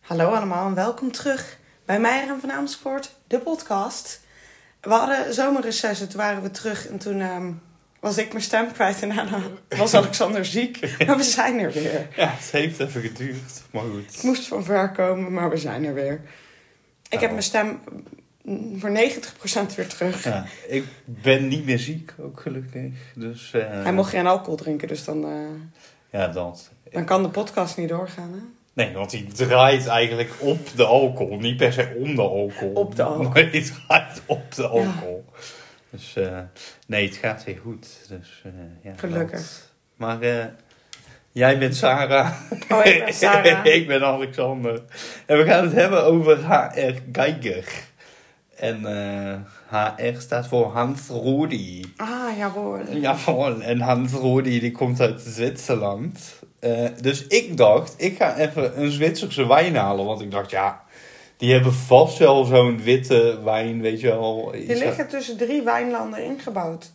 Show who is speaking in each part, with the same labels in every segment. Speaker 1: Hallo allemaal en welkom terug bij Meijer van Amersfoort, de podcast. We hadden zomerreces, toen waren we terug en toen ehm, was ik mijn stem kwijt en daarna was Alexander ziek. Maar we zijn er weer.
Speaker 2: Ja, het heeft even geduurd, maar goed.
Speaker 1: Ik moest van ver komen, maar we zijn er weer. Ik heb
Speaker 2: Ja.
Speaker 1: mijn stem mm, voor 90% weer terug.
Speaker 2: Ja, ik ben niet meer ziek, ook gelukkig. Dus, eh,
Speaker 1: Hij mocht geen alcohol drinken, dus dan, eh,
Speaker 2: Ja, dat.
Speaker 1: dan kan de podcast niet doorgaan. Hè?
Speaker 2: Nee, want hij draait eigenlijk op de alcohol. Niet per se om de alcohol.
Speaker 1: Op de alcohol.
Speaker 2: Maar hij draait op de alcohol. Dus eh, nee, het gaat weer goed. Dus, eh, ja,
Speaker 1: Gelukkig.
Speaker 2: dat. Maar eh, jij bent Sarah.
Speaker 1: Oh, ik ben Sarah.
Speaker 2: ik ben Alexander. En we gaan het hebben over HR Geiger. En eh, HR staat voor Hans Rudi.
Speaker 1: Ah, jawohl.
Speaker 2: Jawohl, en Hans Rodi die komt uit Zwitserland. Eh, dus ik dacht, ik ga even een Zwitserse wijn halen. Want ik dacht, ja, die hebben vast wel zo'n witte wijn, weet je wel.
Speaker 1: Die liggen tussen drie wijnlanden ingebouwd.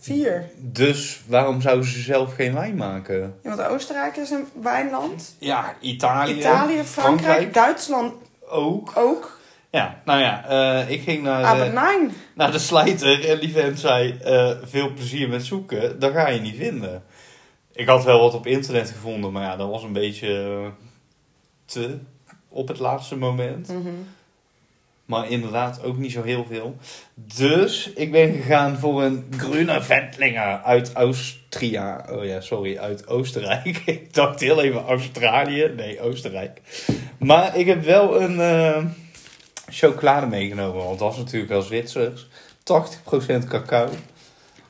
Speaker 1: Vier.
Speaker 2: Dus waarom zouden ze zelf geen wijn maken?
Speaker 1: Ja, want Oostenrijk is een wijnland.
Speaker 2: Ja, Italië.
Speaker 1: Italië, Frankrijk, Duitsland
Speaker 2: ook.
Speaker 1: ook.
Speaker 2: Ja, nou ja, eh, ik ging naar,
Speaker 1: Aber
Speaker 2: de,
Speaker 1: nein.
Speaker 2: naar de slijter en die vent zei, eh, veel plezier met zoeken, dat ga je niet vinden. Ik had wel wat op internet gevonden, maar ja, dat was een beetje eh, te op het laatste moment.
Speaker 1: Mhm.
Speaker 2: Maar inderdaad ook niet zo heel veel. Dus ik ben gegaan voor een Grüne Ventlinger uit Austria. Oh ja, sorry, uit Oostenrijk. ik dacht heel even Australië. Nee, Oostenrijk. Maar ik heb wel een eh, chocolade meegenomen. Want dat is natuurlijk wel Zwitsers. 80% cacao.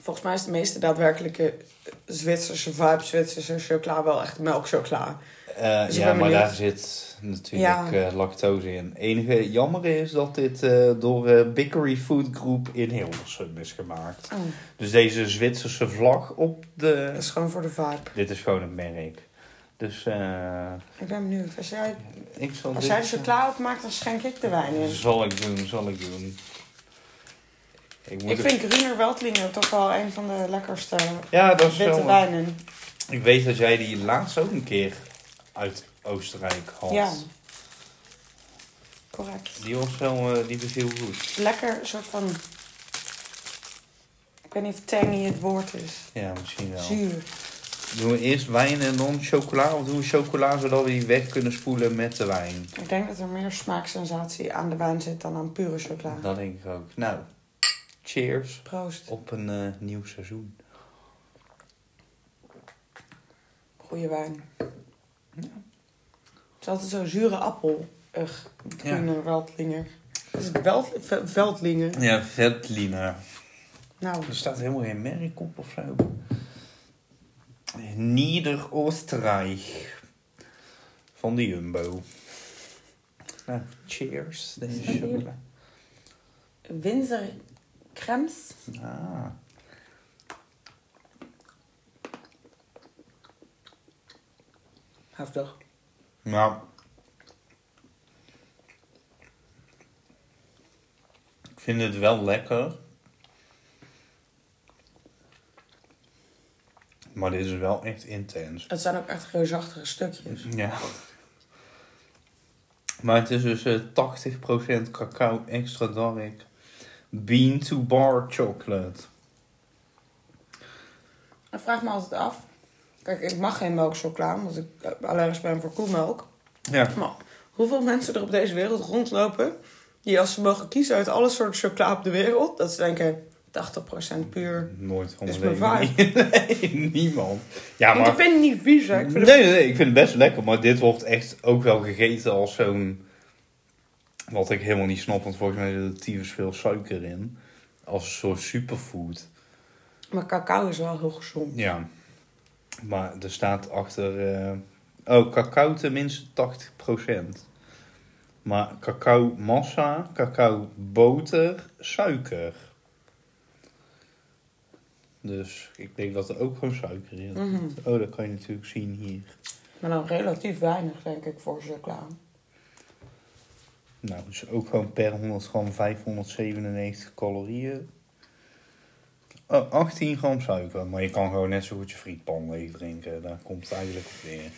Speaker 1: Volgens mij is de meeste daadwerkelijke eh, Zwitserse vibe, Zwitserse chocola wel echt melkchocola.
Speaker 2: Eh,
Speaker 1: Dus ik
Speaker 2: ja,
Speaker 1: ben
Speaker 2: maar
Speaker 1: benieuwd.
Speaker 2: daar zit natuurlijk
Speaker 1: Ja.
Speaker 2: eh, lactose in. enige jammer is dat dit eh, door eh Bakery Food Group in Hilversum is gemaakt.
Speaker 1: Oh,
Speaker 2: Dus deze Zwitserse vlag op de.
Speaker 1: dat is gewoon voor de vibe.
Speaker 2: Dit is gewoon een merk. Dus eh
Speaker 1: Ik ben benieuwd. Als jij,
Speaker 2: ik zal
Speaker 1: als
Speaker 2: dit-
Speaker 1: jij de chocola opmaakt, dan schenk ik de wijn in.
Speaker 2: Zal ik doen, zal ik doen. Ik moet
Speaker 1: Ik vind Grüner Weltliner toch wel een van de lekkerste
Speaker 2: Ja, dat is
Speaker 1: witte
Speaker 2: wel.
Speaker 1: wijnen.
Speaker 2: Ik weet dat jij die laatst ook een keer uit Oostenrijk had.
Speaker 1: Ja. Correct.
Speaker 2: Die was wel, eh, die beviel goed.
Speaker 1: Lekker soort van... Ik weet niet of tangy het woord is.
Speaker 2: Ja, misschien wel.
Speaker 1: Zuur.
Speaker 2: Doen we eerst wijn en dan chocola? Of doen we chocola zodat we die weg kunnen spoelen met de wijn?
Speaker 1: Ik denk dat er meer smaaksensatie aan de wijn zit dan aan pure chocola.
Speaker 2: Dat denk ik ook. Nou, cheers.
Speaker 1: Proost.
Speaker 2: Op een eh, nieuw seizoen.
Speaker 1: Goeie wijn. Het is altijd zo'n zure appel. Ugh, groene veldlinger. Is het weld, ve- veldlinger?
Speaker 2: Ja, Veltliner.
Speaker 1: Nou,
Speaker 2: Er staat helemaal geen merk op of zo. Nieder-Oostenrijk. Van de Jumbo. Nou, cheers. Deze chocola.
Speaker 1: Windsor Krems.
Speaker 2: Ah.
Speaker 1: Heftig.
Speaker 2: Nou. Ik vind het wel lekker. Maar dit is wel echt intens.
Speaker 1: Het zijn ook echt reusachtige stukjes.
Speaker 2: Ja. Maar het is dus eh 80% cacao extra dark. Bean to bar chocolate.
Speaker 1: Ik vraag me altijd af. Kijk, ik mag geen melkchocola, omdat ik eh, allergisch ben voor koemelk.
Speaker 2: Ja.
Speaker 1: Maar hoeveel mensen er op deze wereld rondlopen... die als ze mogen kiezen uit alle soorten chocola op de wereld... dat ze denken 80% puur...
Speaker 2: Nooit
Speaker 1: Is
Speaker 2: onderweg.
Speaker 1: mijn
Speaker 2: Nee, niemand. Ja,
Speaker 1: Want
Speaker 2: maar...
Speaker 1: ik vind het niet vies, hè. Ik vind het-
Speaker 2: nee, nee, nee, ik vind het best lekker, maar dit wordt echt ook wel gegeten als zo'n. Wat ik helemaal niet snap, want volgens mij zit er tyfus veel suiker in. Als een soort superfood.
Speaker 1: Maar cacao is wel heel gezond.
Speaker 2: Ja. Maar er staat achter. eh, Oh, cacao tenminste 80%. Maar cacao massa, cacao boter, suiker. Dus ik denk dat er ook gewoon suiker in zit.
Speaker 1: Mhm.
Speaker 2: Oh, dat kan je natuurlijk zien hier.
Speaker 1: Maar dan relatief weinig, denk ik, voor chocola.
Speaker 2: Nou, dus ook gewoon per 100 gram 597 calorieën. Oh, 18 gram suiker. Maar je kan gewoon net zo goed je frietpan leeg drinken. Daar komt het eigenlijk op neer.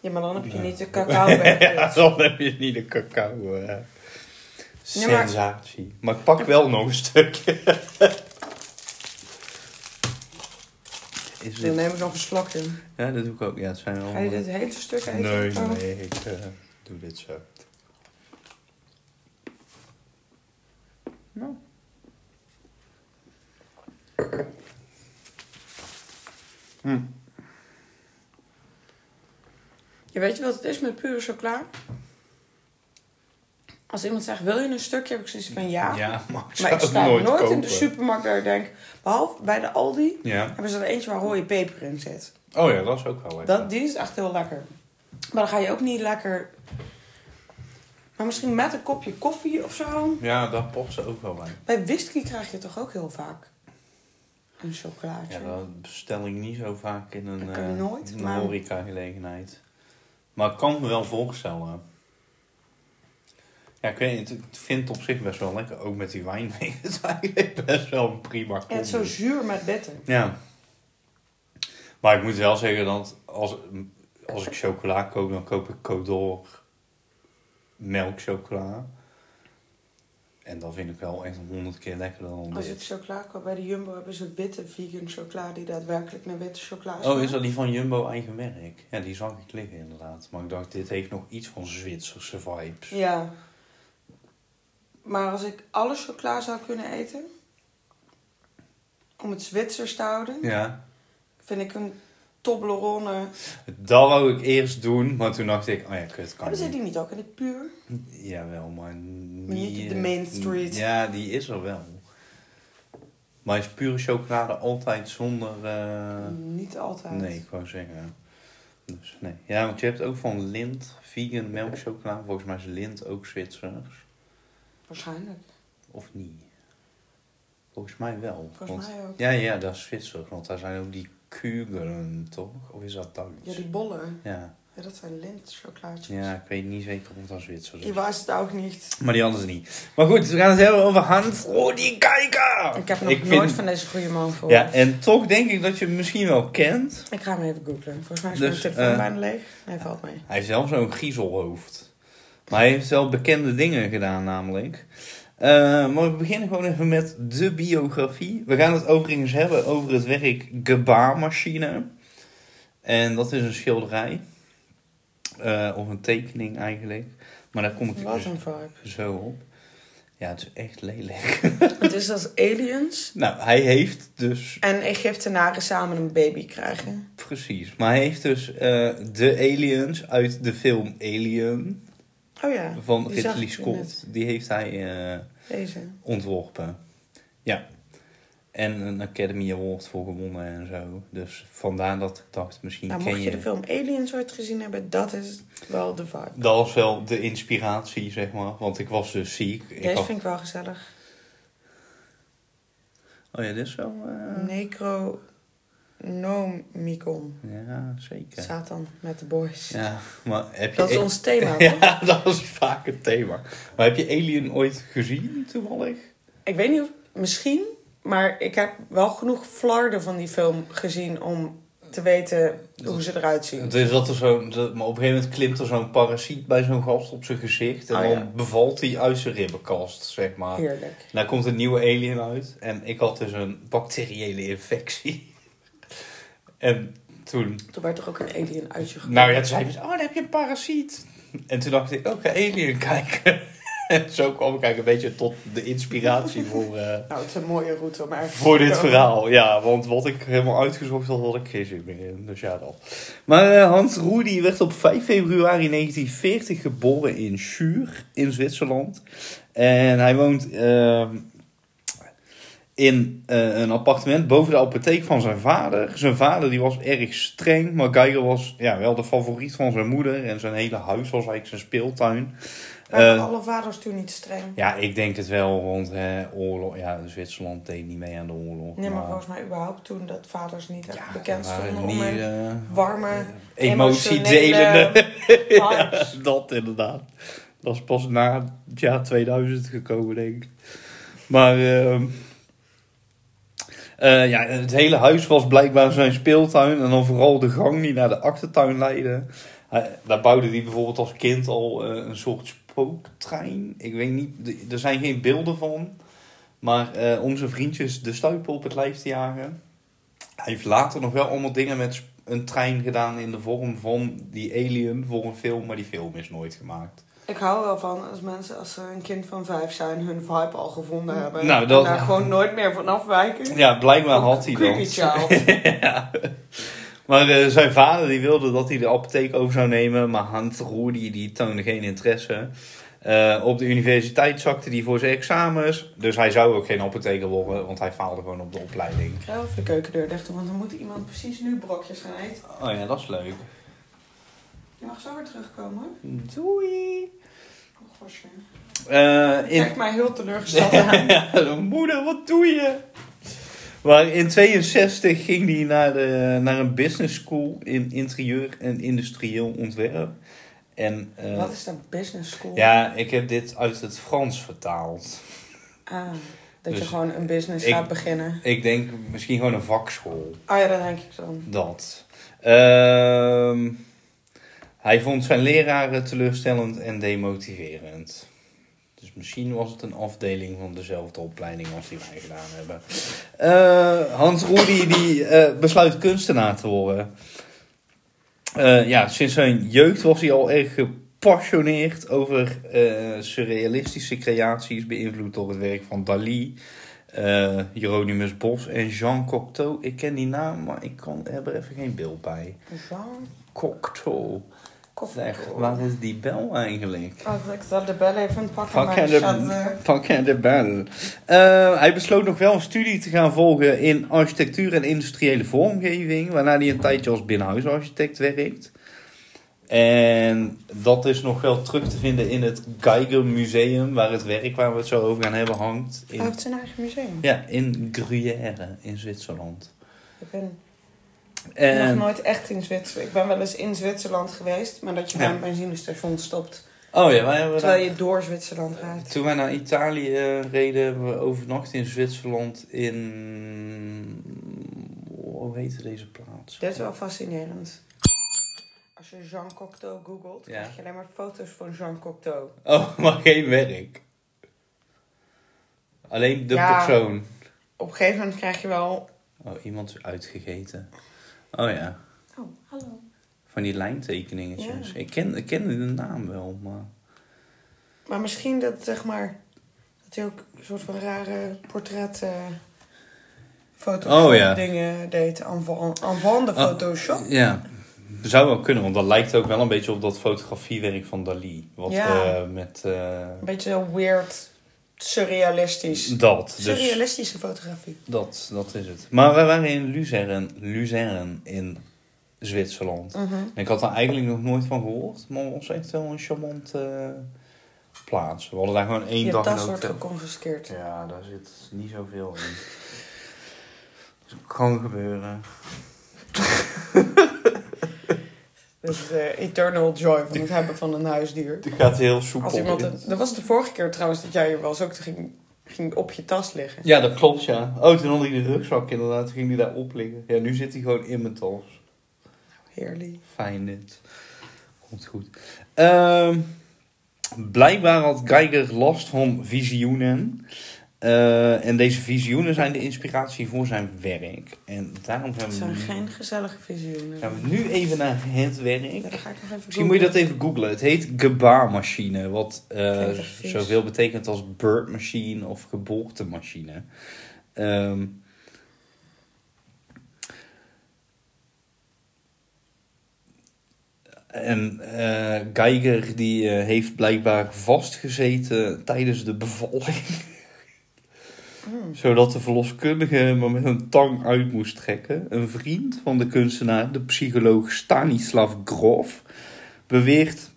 Speaker 1: Ja, maar dan heb je
Speaker 2: Nee.
Speaker 1: niet de cacao benefit.
Speaker 2: dan heb je niet de cacao. eh,
Speaker 1: Ja, maar-
Speaker 2: sensatie. Maar... ik pak wel nog een stukje. Is
Speaker 1: Dan
Speaker 2: dit...
Speaker 1: neem ik nog een slok in.
Speaker 2: Ja, dat doe ik ook. Ja, het zijn wel...
Speaker 1: Ga je dit hele stuk eten?
Speaker 2: Nee,
Speaker 1: Oh.
Speaker 2: nee, ik eh, doe dit zo. Nou. Hm.
Speaker 1: Je weet je wat het is met pure chocola? Als iemand zegt, wil je een stukje? Heb ik zoiets van ja.
Speaker 2: maar ik,
Speaker 1: maar
Speaker 2: zou
Speaker 1: ik
Speaker 2: het
Speaker 1: sta nooit, in de
Speaker 2: kopen.
Speaker 1: supermarkt daar denk. Behalve bij de Aldi
Speaker 2: Ja.
Speaker 1: hebben ze er eentje waar rode peper in zit.
Speaker 2: Oh ja, dat is ook wel lekker.
Speaker 1: Dat, die is echt heel lekker. Maar dan ga je ook niet lekker... Maar misschien met een kopje koffie of zo.
Speaker 2: Ja, dat past ze ook wel bij.
Speaker 1: Bij whisky krijg je toch ook heel vaak een chocolaatje.
Speaker 2: Ja, dat bestel ik niet zo vaak in een,
Speaker 1: Dat kan
Speaker 2: eh,
Speaker 1: nooit,
Speaker 2: een
Speaker 1: maar-
Speaker 2: horeca-gelegenheid. Maar ik kan me wel voorstellen. Ja, ik weet niet, ik vind het op zich best wel lekker. Ook met die wijn vind ik het eigenlijk best wel een prima
Speaker 1: Ja, het is zo
Speaker 2: combi.
Speaker 1: zuur met bitter.
Speaker 2: Ja. Maar ik moet wel zeggen dat als, als ik chocola koop, dan koop ik Codor melkchocola. En dat vind ik wel echt honderd keer lekkerder dan
Speaker 1: Als
Speaker 2: dit.
Speaker 1: ik chocola koop bij de Jumbo hebben ze witte vegan chocola die daadwerkelijk naar witte chocola
Speaker 2: Oh,
Speaker 1: smaakt.
Speaker 2: is dat die van Jumbo eigen merk? Ja, die zag ik liggen inderdaad. Maar ik dacht, dit heeft nog iets van Zwitserse vibes.
Speaker 1: Ja. Maar als ik alle chocola zou kunnen eten, om het Zwitsers te houden,
Speaker 2: Ja.
Speaker 1: vind ik een Toblerone.
Speaker 2: Dat wou ik eerst doen, maar toen dacht ik, oh ja, kut, kan
Speaker 1: Hebben ze
Speaker 2: niet.
Speaker 1: die niet ook in het puur?
Speaker 2: Jawel, maar niet...
Speaker 1: Maar niet op de main street.
Speaker 2: Ja, die is er wel. Maar is pure chocolade altijd zonder... eh,
Speaker 1: niet altijd.
Speaker 2: Nee, ik wou zeggen. Dus nee. Ja, want je hebt ook van Lind, vegan melkchocola. Volgens mij is Lind ook Zwitsers.
Speaker 1: Waarschijnlijk.
Speaker 2: Of niet? Volgens mij wel. want-
Speaker 1: Volgens mij ook.
Speaker 2: Ja, ja, dat is Zwitser, want daar zijn ook die kugelen, toch? Of is dat Duits?
Speaker 1: Ja, die bollen.
Speaker 2: ja.
Speaker 1: Ja, dat zijn lint chocolaatjes.
Speaker 2: Ja, ik weet niet zeker of dat Zwitser
Speaker 1: Ik
Speaker 2: is.
Speaker 1: was het ook niet.
Speaker 2: Maar die anders niet. Maar goed, we gaan het hebben over Hans Rudi Kijker.
Speaker 1: Ik heb nog nooit van deze goede man gehoord.
Speaker 2: Ja, en toch denk ik dat je hem misschien wel kent.
Speaker 1: Ik ga hem even googlen. Volgens mij is
Speaker 2: Dus,
Speaker 1: mijn telefoon
Speaker 2: eh,
Speaker 1: bijna leeg. Nee, valt mee.
Speaker 2: Hij heeft zelf zo'n griezelhoofd. Maar hij heeft wel bekende dingen gedaan, namelijk. Eh, maar we beginnen gewoon even met de biografie. We gaan het overigens hebben over het werk Gebaarmachine. En dat is een schilderij. Eh, of een tekening eigenlijk. Maar daar kom ik
Speaker 1: Wat
Speaker 2: dus
Speaker 1: een vibe.
Speaker 2: zo op. Ja, het is echt lelijk.
Speaker 1: Het is als aliens
Speaker 2: Nou, hij heeft dus
Speaker 1: en Egyptenaren samen een baby krijgen.
Speaker 2: Precies. Maar hij heeft dus eh, de aliens uit de film Alien
Speaker 1: Oh ja,
Speaker 2: van
Speaker 1: die zag
Speaker 2: Ridley
Speaker 1: ik net.
Speaker 2: Scott. Die heeft hij eh,
Speaker 1: deze.
Speaker 2: ontworpen. Ja. En een Academy Award voor gewonnen en zo. Dus vandaar dat ik dacht, misschien
Speaker 1: Nou,
Speaker 2: ken
Speaker 1: mocht
Speaker 2: je...
Speaker 1: je de film Aliens ooit gezien hebben, dat is wel de vibe.
Speaker 2: Dat was wel de inspiratie, zeg maar. Want ik was dus ziek. Ik
Speaker 1: Deze
Speaker 2: had-
Speaker 1: vind ik wel gezellig.
Speaker 2: Oh ja, dit is wel... eh,
Speaker 1: Necronomicon.
Speaker 2: Ja, zeker.
Speaker 1: Satan met de boys.
Speaker 2: Ja, maar heb je...
Speaker 1: Dat is
Speaker 2: a-
Speaker 1: ons thema. hoor.
Speaker 2: Ja, dat is vaak het thema. Maar heb je Alien ooit gezien, toevallig?
Speaker 1: Ik weet niet of... Misschien, maar ik heb wel genoeg flarden van die film gezien om te weten hoe ze eruit zien.
Speaker 2: Het is dat er zo'n, dat- maar op een gegeven moment klimt er zo'n parasiet bij zo'n gast op zijn gezicht. En
Speaker 1: Ah,
Speaker 2: dan
Speaker 1: ja.
Speaker 2: bevalt hij uit zijn ribbenkast, zeg maar.
Speaker 1: Heerlijk.
Speaker 2: En daar Nou komt een nieuwe alien uit. En ik had dus een bacteriële infectie. en toen,
Speaker 1: Toen werd er ook een alien uit je gegooid.
Speaker 2: nou ja, toen zei ze, oh, dan heb je een parasiet. En toen dacht ik, oh, ik ga alien kijken. en zo kwam ik eigenlijk een beetje tot de inspiratie voor, eh,
Speaker 1: Nou, het is een mooie route om ergens
Speaker 2: voor
Speaker 1: te
Speaker 2: dit
Speaker 1: komen.
Speaker 2: verhaal. Ja, want wat ik helemaal uitgezocht had, had ik geen zin meer in. Dus ja, dan. Maar eh, Hans Rudy werd op 5 februari 1940 geboren in Schuur in Zwitserland. En hij woont ehm, in eh, een appartement boven de apotheek van zijn vader. Zijn vader die was erg streng, maar Geiger was ja, wel de favoriet van zijn moeder. En zijn hele huis was eigenlijk zijn speeltuin.
Speaker 1: Waren
Speaker 2: Eh,
Speaker 1: alle vaders toen niet streng?
Speaker 2: ja, ik denk het wel, want hè, oorlog, ja, Zwitserland deed niet mee aan de oorlog.
Speaker 1: Nee, maar volgens mij überhaupt toen dat vaders niet echt bekend
Speaker 2: er waren
Speaker 1: stonden om
Speaker 2: niet,
Speaker 1: hun
Speaker 2: eh,
Speaker 1: warme,
Speaker 2: emotiedelende.
Speaker 1: emotionele vibes.
Speaker 2: dat inderdaad. Dat is pas na het jaar 2000 gekomen, denk ik. Maar ehm, eh, ja, het hele huis was blijkbaar zijn speeltuin. En dan vooral de gang die naar de achtertuin leidde. Hij- Daar bouwde hij bijvoorbeeld als kind al eh, een soort spooktrein. Ik weet niet, d- er zijn geen beelden van. Maar eh, om zijn vriendjes de stuipen op het lijf te jagen. Hij heeft later nog wel allemaal dingen met sp- een trein gedaan in de vorm van die alien voor een film. Maar die film is nooit gemaakt.
Speaker 1: Ik hou wel van als mensen, als ze een kind van vijf zijn, hun vibe al gevonden hebben.
Speaker 2: Nou,
Speaker 1: en
Speaker 2: dat-
Speaker 1: daar gewoon nooit meer van afwijken.
Speaker 2: Ja, blijkbaar had hij
Speaker 1: Creepy
Speaker 2: dat.
Speaker 1: child.
Speaker 2: ja. Maar eh, zijn vader die wilde dat hij de apotheek over zou nemen, maar Hans Roer die, die toonde geen interesse. Eh, op de universiteit zakte hij voor zijn examens, dus hij zou ook geen apotheker worden, want hij faalde gewoon op de opleiding.
Speaker 1: Ik ga even de keukendeur dicht doen, want dan moet iemand precies nu brokjes gaan eten.
Speaker 2: Oh ja, dat is leuk.
Speaker 1: Je mag zo weer terugkomen. hoor.
Speaker 2: Doei!
Speaker 1: Oh, gosh, hè.
Speaker 2: Eh, in...
Speaker 1: Kijk mij heel teleurgesteld aan.
Speaker 2: Ja, moeder, wat doe je? Maar in 62 ging hij naar, de, naar een business school in interieur en industrieel ontwerp. En, eh,
Speaker 1: Wat is dat business school?
Speaker 2: Ja, ik heb dit uit het Frans vertaald.
Speaker 1: Ah, dat je
Speaker 2: Dus
Speaker 1: gewoon een business
Speaker 2: ik-
Speaker 1: gaat beginnen.
Speaker 2: Ik denk misschien gewoon een vakschool.
Speaker 1: Ah ja, dat denk ik dan.
Speaker 2: Dat. Ehm, hij vond zijn leraren teleurstellend en demotiverend. Dus misschien was het een afdeling van dezelfde opleiding als die wij gedaan hebben. Eh, Hans Roedi die, eh, besluit kunstenaar te worden. Eh, ja, sinds zijn jeugd was hij al erg gepassioneerd over eh, surrealistische creaties, beïnvloed door het werk van Dali, eh Hieronymus Bos en Jean Cocteau. Ik ken die naam, maar ik kan, heb er even geen beeld bij.
Speaker 1: Jean
Speaker 2: Cocteau.
Speaker 1: Koffie.
Speaker 2: Zeg, waar is die bel eigenlijk?
Speaker 1: Als ik zal de bel even pakken,
Speaker 2: Pak
Speaker 1: maar
Speaker 2: en
Speaker 1: de...
Speaker 2: de,
Speaker 1: eh,
Speaker 2: pak en de bel. Eh, hij besloot nog wel een studie te gaan volgen in architectuur en industriële vormgeving, waarna hij een tijdje als binnenhuisarchitect werkt. En dat is nog wel terug te vinden in het Geiger Museum, waar het werk waar we het zo over gaan hebben hangt.
Speaker 1: Hij
Speaker 2: In,
Speaker 1: heeft zijn eigen museum.
Speaker 2: ja, in Gruyère in Zwitserland.
Speaker 1: Ik ben nog
Speaker 2: En,
Speaker 1: nooit echt in Zwitserland. Ik ben wel eens in Zwitserland geweest, maar dat je bij
Speaker 2: Ja.
Speaker 1: een benzinestation stopt.
Speaker 2: oh ja, wij hebben daar-
Speaker 1: Terwijl je door Zwitserland gaat.
Speaker 2: Toen wij naar Italië eh, reden, hebben we overnacht in Zwitserland in... Hoe heette deze plaats?
Speaker 1: Dit is wel fascinerend. Als je Jean Cocteau googelt,
Speaker 2: Ja.
Speaker 1: krijg je alleen maar foto's van Jean Cocteau.
Speaker 2: Oh, maar geen werk. Alleen de
Speaker 1: Ja.
Speaker 2: persoon.
Speaker 1: Op een gegeven moment krijg je wel...
Speaker 2: Oh, iemand is uitgegeten. Oh ja,
Speaker 1: Oh, hallo.
Speaker 2: van die lijntekeningetjes.
Speaker 1: Ja.
Speaker 2: Ik, ken, ik kende de naam wel, maar...
Speaker 1: Maar misschien dat, zeg maar, dat hij ook een soort van rare portret... eh foto's
Speaker 2: Oh, ja.
Speaker 1: dingen deed. Avant avant de
Speaker 2: Oh,
Speaker 1: Photoshop.
Speaker 2: Ja, zou wel kunnen, want dat lijkt ook wel een beetje op dat fotografiewerk van Dali. Wat
Speaker 1: Ja.
Speaker 2: eh, met... eh,
Speaker 1: Een beetje zo weird, surrealistisch.
Speaker 2: dat, dus...
Speaker 1: Surrealistische fotografie.
Speaker 2: Dat, dat is het. Maar wij waren in Luzern, Luzern in Zwitserland. En ik had daar eigenlijk nog nooit van gehoord, maar het was echt wel een charmante eh, plaats. We hadden daar gewoon één
Speaker 1: Je
Speaker 2: dag
Speaker 1: tas
Speaker 2: in
Speaker 1: wordt
Speaker 2: hotel.
Speaker 1: geconfiskeerd.
Speaker 2: Ja, daar zit niet zoveel in. Dat kan gebeuren.
Speaker 1: Dat is de Dus, eh, eternal joy van het hebben van een huisdier.
Speaker 2: Het gaat heel soepel.
Speaker 1: Als iemand
Speaker 2: in.
Speaker 1: het- dat was de vorige keer trouwens dat jij hier was ook. Toen ging, ging op je tas liggen.
Speaker 2: Ja, dat klopt, ja. Oh, toen had ik de rugzak inderdaad, toen ging die daar op liggen. Ja, nu zit hij gewoon in mijn tas.
Speaker 1: Heerlijk.
Speaker 2: Fijn dit. Komt goed. Ehm, blijkbaar had Geiger last van visioenen. Eh, en deze visioenen zijn de inspiratie voor zijn werk. En daarom gaan
Speaker 1: Het
Speaker 2: we,
Speaker 1: zijn
Speaker 2: nu,
Speaker 1: geen gezellige visioenen.
Speaker 2: gaan we Mm. nu even naar het
Speaker 1: Ja,
Speaker 2: werk.
Speaker 1: dan ga ik nog even
Speaker 2: Misschien moet je dat
Speaker 1: googlen.
Speaker 2: even googlen. Het heet gebaarmachine, wat eh,
Speaker 1: Klinkt echt vies.
Speaker 2: zoveel betekent als bird machine of geboortemachine. Ehm, en eh, Geiger die eh, heeft blijkbaar vastgezeten tijdens de bevalling.
Speaker 1: Mm.
Speaker 2: Zodat de verloskundige hem er met een tang uit moest trekken. Een vriend van de kunstenaar, de psycholoog Stanislav Grof, beweert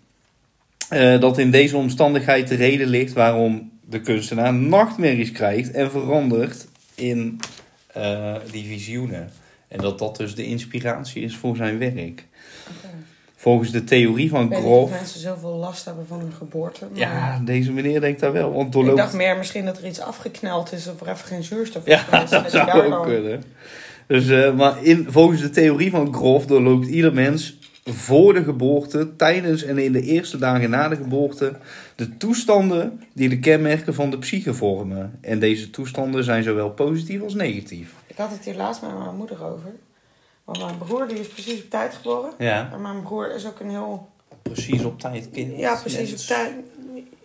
Speaker 2: eh, dat in deze omstandigheid de reden ligt waarom de kunstenaar nachtmerries krijgt en verandert in eh, die visioenen. En dat dat dus de inspiratie is voor zijn werk.
Speaker 1: Oké.
Speaker 2: Volgens de theorie
Speaker 1: Ik
Speaker 2: van
Speaker 1: weet niet of
Speaker 2: Grof.
Speaker 1: mensen zoveel last hebben van hun geboorte. Maar
Speaker 2: Ja, deze meneer denkt daar wel, want
Speaker 1: ik
Speaker 2: doorloopt
Speaker 1: dacht meer misschien dat er iets afgekneld is of er even geen zuurstof is.
Speaker 2: Ja,
Speaker 1: geweest en
Speaker 2: dat
Speaker 1: je
Speaker 2: zou
Speaker 1: daar
Speaker 2: ook
Speaker 1: dan-
Speaker 2: kunnen. Dus, eh, maar in, volgens de theorie van Grof doorloopt ieder mens voor de geboorte, tijdens en in de eerste dagen na de geboorte de toestanden die de kenmerken van de psyche vormen. En deze toestanden zijn zowel positief als negatief.
Speaker 1: Ik had het hier laatst met mijn moeder over. Want mijn broer die is precies op tijd geboren.
Speaker 2: Ja,
Speaker 1: En mijn broer is ook een heel...
Speaker 2: precies op tijd, kind.
Speaker 1: Ja, precies op tijd.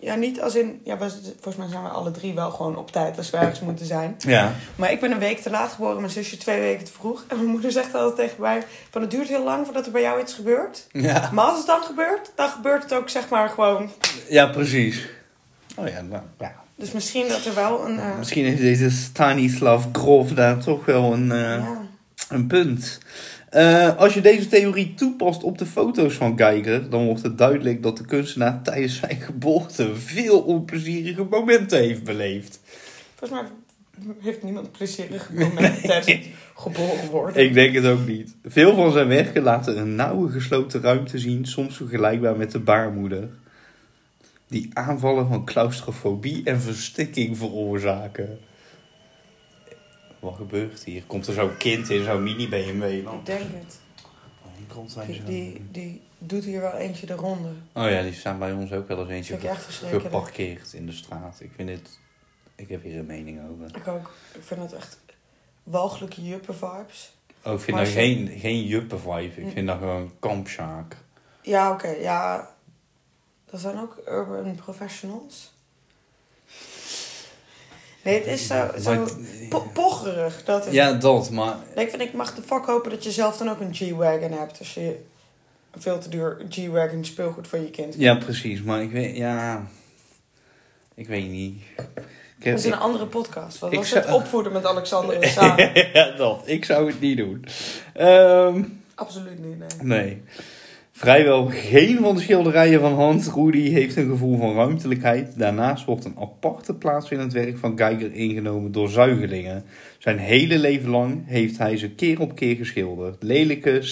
Speaker 1: Ja, niet als in... Ja, we, volgens mij zijn we alle drie wel gewoon op tijd als we ergens moeten zijn.
Speaker 2: Ja,
Speaker 1: Maar ik ben een week te laat geboren. Mijn zusje twee weken te vroeg. En mijn moeder zegt altijd tegen mij... Van het duurt heel lang voordat er bij jou iets gebeurt.
Speaker 2: ja.
Speaker 1: Maar als het dan gebeurt, dan gebeurt het ook zeg maar gewoon...
Speaker 2: ja precies. Oh ja, nou, ja.
Speaker 1: Dus misschien dat er wel een... eh,
Speaker 2: Misschien heeft deze Stanislav Grof daar toch wel een... eh,
Speaker 1: ja.
Speaker 2: Een punt. Eh, als je deze theorie toepast op de foto's van Geiger, dan wordt het duidelijk dat de kunstenaar tijdens zijn geboorte veel onplezierige momenten heeft beleefd.
Speaker 1: Volgens mij heeft niemand plezierige momenten tijdens het geboren worden.
Speaker 2: Ik denk het ook niet. Veel van zijn werken laten een nauwe gesloten ruimte zien, soms vergelijkbaar met de baarmoeder. Die aanvallen van claustrofobie en verstikking veroorzaken. Wat gebeurt hier? Komt er zo'n kind in zo'n mini-BMW?
Speaker 1: Ik denk het. Die, die, die doet hier wel eentje de ronde.
Speaker 2: Oh ja, die staan bij ons ook wel eens
Speaker 1: Dat
Speaker 2: eentje
Speaker 1: vind ik echt verschrikkelijk.
Speaker 2: geparkeerd in de straat. Ik vind dit... Ik heb hier een mening over.
Speaker 1: Ik ook. Ik vind het echt walgelijke juppen vibes.
Speaker 2: Oh, ik vind
Speaker 1: Maar
Speaker 2: dat
Speaker 1: ze-
Speaker 2: geen, geen juppe vibe. Ik vind dat gewoon kampshaak.
Speaker 1: Ja, oké. ja, dat zijn ook urban professionals. Nee, het is zo, zo
Speaker 2: Maar-
Speaker 1: po- pocherig. Dat is
Speaker 2: Ja, dat, maar...
Speaker 1: Nee, ik vind, ik mag de fuck hopen dat je zelf dan ook een G-Wagon hebt. Als je een veel te duur G-Wagon speelgoed voor je kind
Speaker 2: Ja, precies. Maar ik weet... Ja... Ik weet niet. Ik heb-
Speaker 1: Dat is een andere podcast. Wat
Speaker 2: ik
Speaker 1: was
Speaker 2: zou-
Speaker 1: het opvoeden met Alexander en Saar?
Speaker 2: ja, dat. Ik zou het niet doen. Ehm...
Speaker 1: Absoluut niet, nee.
Speaker 2: Nee. Vrijwel geen van de schilderijen van Hans Rudy heeft een gevoel van ruimtelijkheid. Daarnaast wordt een aparte plaats in het werk van Geiger ingenomen door zuigelingen. Zijn hele leven lang heeft hij ze keer op keer geschilderd. Lelijke,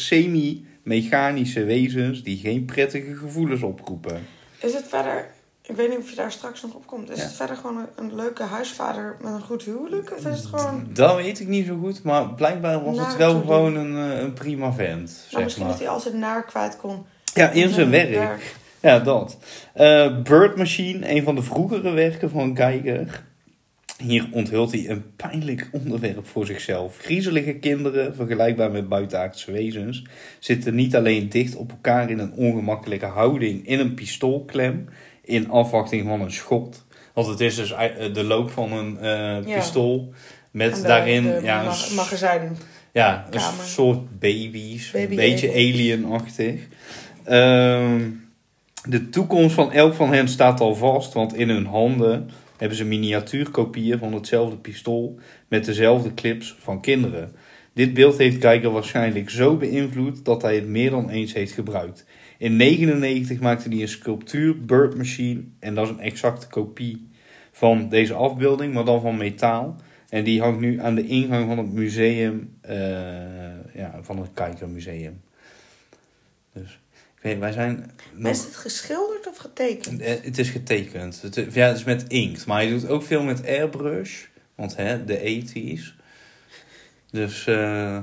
Speaker 2: semi-mechanische wezens die geen prettige gevoelens oproepen.
Speaker 1: Is het verder... Ik weet niet of je daar straks nog op komt. Is
Speaker 2: Ja.
Speaker 1: het verder gewoon een, een leuke huisvader met een goed huwelijk? Of is het gewoon...
Speaker 2: Dat weet ik niet zo goed, maar blijkbaar was het
Speaker 1: Nou,
Speaker 2: wel
Speaker 1: toen-
Speaker 2: gewoon een, eh, een prima vent,
Speaker 1: Nou,
Speaker 2: zeg
Speaker 1: misschien
Speaker 2: maar.
Speaker 1: dat hij als het naar kwijt kon.
Speaker 2: Ja, in zijn
Speaker 1: eh,
Speaker 2: werk. Ja, dat. Eh, Bird Machine, een van de vroegere werken van Geiger. Hier onthult hij een pijnlijk onderwerp voor zichzelf. Griezelige kinderen, vergelijkbaar met buitenaardse wezens, zitten niet alleen dicht op elkaar in een ongemakkelijke houding in een pistoolklem, in afwachting van een schot. Want het is dus ei- de loop van een eh,
Speaker 1: Ja.
Speaker 2: pistool met
Speaker 1: En eh, de-
Speaker 2: daarin
Speaker 1: de
Speaker 2: ja, een
Speaker 1: ma-
Speaker 2: s-
Speaker 1: magazijn.
Speaker 2: ja, een
Speaker 1: Kamer.
Speaker 2: soort baby's.
Speaker 1: Baby
Speaker 2: een beetje
Speaker 1: aliens.
Speaker 2: alienachtig. Ehm, de toekomst van elk van hen staat al vast, want in hun handen hebben ze miniatuurkopieën van hetzelfde pistool met dezelfde clips van kinderen. Dit beeld heeft Geiger waarschijnlijk zo beïnvloed dat hij het meer dan eens heeft gebruikt. In 1999 maakte hij een sculptuur Bird Machine en dat is een exacte kopie van deze afbeelding, maar dan van metaal. En die hangt nu aan de ingang van het museum, eh, ja, van het Kijkermuseum. Dus, ik weet, wij zijn...
Speaker 1: Maar
Speaker 2: Nog,
Speaker 1: is het geschilderd of getekend?
Speaker 2: Eh, het is getekend. Het, is- ja, het is met inkt, maar hij doet ook veel met airbrush. Want hè, de 80s. Dus, eh,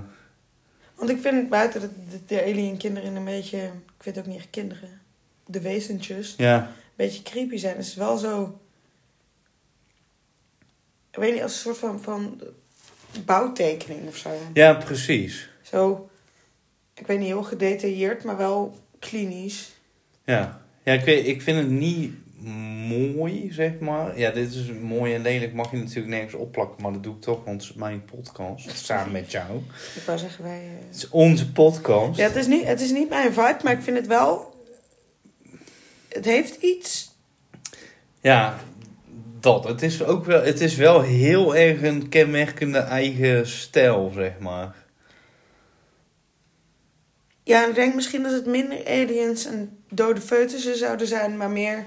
Speaker 1: Want ik vind buiten de, de, de alien kinderen een beetje... Ik weet ook niet echt kinderen. De wezentjes.
Speaker 2: ja.
Speaker 1: een beetje creepy zijn. Het is wel zo. Ik weet niet, als een soort van, van bouwtekening of zo.
Speaker 2: Ja, precies.
Speaker 1: Zo, ik weet niet, heel gedetailleerd, maar wel klinisch.
Speaker 2: Ja, ja ik, weet, ik vind het niet mooi, zeg maar. Ja, dit is mooi en lelijk, mag je natuurlijk nergens opplakken, maar dat doe ik toch, want het is mijn podcast, samen met jou.
Speaker 1: Ik wou zeggen, wij. eh,
Speaker 2: Het is onze podcast.
Speaker 1: Ja, het is, niet, het is niet mijn vibe, maar ik vind het wel. Het heeft iets.
Speaker 2: Ja, dat. Het is, ook wel, het is wel heel erg een kenmerkende eigen stijl, zeg maar.
Speaker 1: Ja, ik denk misschien dat het minder aliens en dode foetussen zouden zijn, maar meer.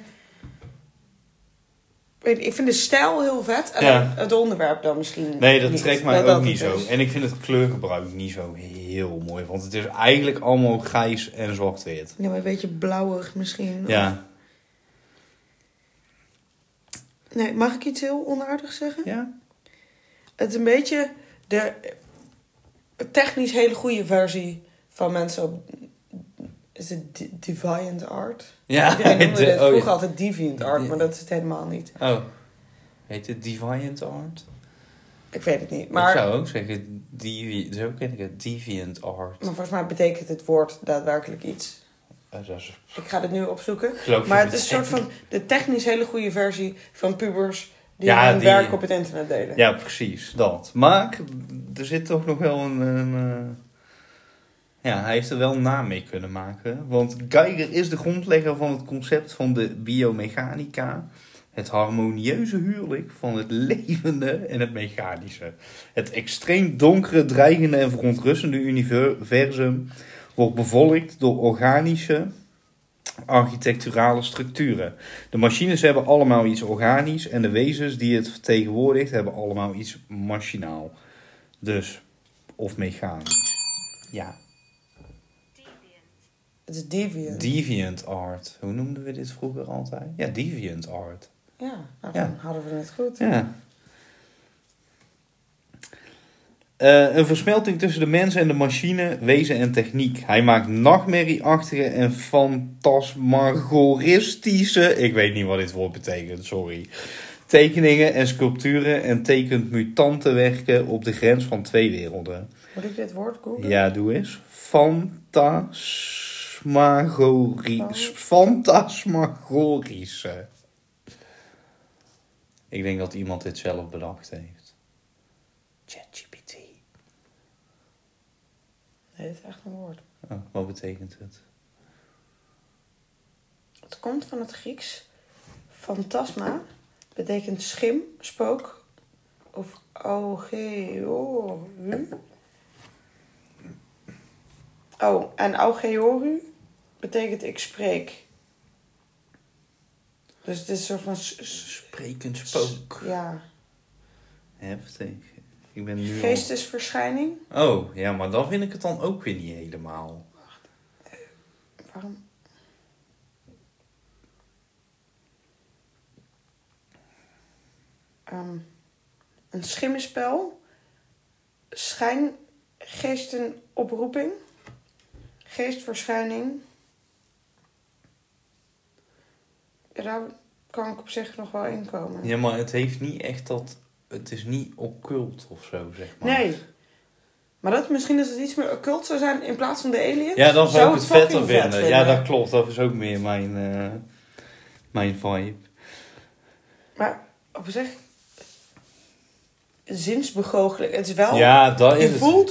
Speaker 1: Ik weet niet, Ik vind de stijl heel vet. En
Speaker 2: Ja.
Speaker 1: het onderwerp dan misschien.
Speaker 2: Nee, dat
Speaker 1: niet.
Speaker 2: trekt mij
Speaker 1: dat
Speaker 2: ook niet
Speaker 1: het
Speaker 2: zo.
Speaker 1: is.
Speaker 2: En ik vind het kleurgebruik niet zo heel mooi, want het is eigenlijk allemaal grijs en zwart-wit.
Speaker 1: Ja, maar een beetje blauwig misschien.
Speaker 2: Ja.
Speaker 1: Nee, mag ik iets heel onaardigs zeggen?
Speaker 2: Ja?
Speaker 1: Het is een beetje de technisch hele goede versie van mensen op Is het di- Deviant Art?
Speaker 2: Ja,
Speaker 1: Iedereen noemde
Speaker 2: de-
Speaker 1: het
Speaker 2: oh,
Speaker 1: vroeger
Speaker 2: ja.
Speaker 1: altijd Deviant Art, maar dat is het helemaal niet.
Speaker 2: Oh. Heet het Deviant Art?
Speaker 1: Ik weet het niet.
Speaker 2: Ik
Speaker 1: Maar,
Speaker 2: zou ook zeggen, devi zo ken ik het, Deviant Art.
Speaker 1: maar volgens mij betekent het woord daadwerkelijk iets.
Speaker 2: Eh, dat is-
Speaker 1: Ik ga dit nu opzoeken.
Speaker 2: geloof ik
Speaker 1: Maar
Speaker 2: niet.
Speaker 1: het is een soort van de technisch hele goede versie van pubers die
Speaker 2: Ja,
Speaker 1: hun
Speaker 2: die-
Speaker 1: werk op het internet delen.
Speaker 2: Ja, precies, dat. Maar er zit toch nog wel een... een, eh, Ja, hij heeft er wel een naam mee kunnen maken. Want Geiger is de grondlegger van het concept van de biomechanica. Het harmonieuze huwelijk van het levende en het mechanische. Het extreem donkere, dreigende en verontrustende universum wordt bevolkt door organische architecturale structuren. De machines hebben allemaal iets organisch en de wezens die het vertegenwoordigt hebben allemaal iets machinaal. Dus, of mechanisch. Ja,
Speaker 1: Het is deviant.
Speaker 2: deviant art. Hoe noemden we dit vroeger altijd? Ja, deviant art.
Speaker 1: ja, nou,
Speaker 2: Ja.
Speaker 1: dan hadden we het goed.
Speaker 2: Ja. Eh, een versmelting tussen de mens en de machine, wezen en techniek. Hij maakt nachtmerrieachtige en fantasmagoristische, ik weet niet wat dit woord betekent, sorry, tekeningen en sculpturen en tekent mutantenwerken op de grens van twee werelden.
Speaker 1: Moet ik dit woord googlen?
Speaker 2: Ja, doe eens. Fantasmagoris. Fantasmagorische. Ik denk dat iemand dit zelf bedacht heeft. ChatGPT.
Speaker 1: Nee, het is echt een woord.
Speaker 2: Oh, wat betekent het?
Speaker 1: Het komt van het Grieks. Fantasma betekent schim, spook of augeoru. Oh, en augeoru betekent ik spreek. Dus het is een soort van... s- s-
Speaker 2: Sprekend
Speaker 1: Ja,
Speaker 2: Heftig. Ik ben nu al-
Speaker 1: geestesverschijning.
Speaker 2: Oh, ja, maar dan vind ik het dan ook weer niet helemaal.
Speaker 1: Waarom? Ehm, een schimmenspel. Schijngeestenoproeping. Geestverschijning. Ja, daar kan ik op zich nog wel in komen.
Speaker 2: Ja, maar het heeft niet echt dat... Het is niet occult of zo, zeg maar.
Speaker 1: Nee. Maar dat, misschien dat het iets meer occult zou zijn in plaats van de alien.
Speaker 2: Ja, dan zou
Speaker 1: Zou
Speaker 2: ik het
Speaker 1: het fucking
Speaker 2: vetter
Speaker 1: vet
Speaker 2: vinden.
Speaker 1: vinden.
Speaker 2: Ja, dat klopt. Dat is ook meer mijn, eh, mijn vibe.
Speaker 1: Maar op zich... Zinsbegoocheling. Het is wel...
Speaker 2: ja, dat is
Speaker 1: Oh, je
Speaker 2: het.
Speaker 1: voelt,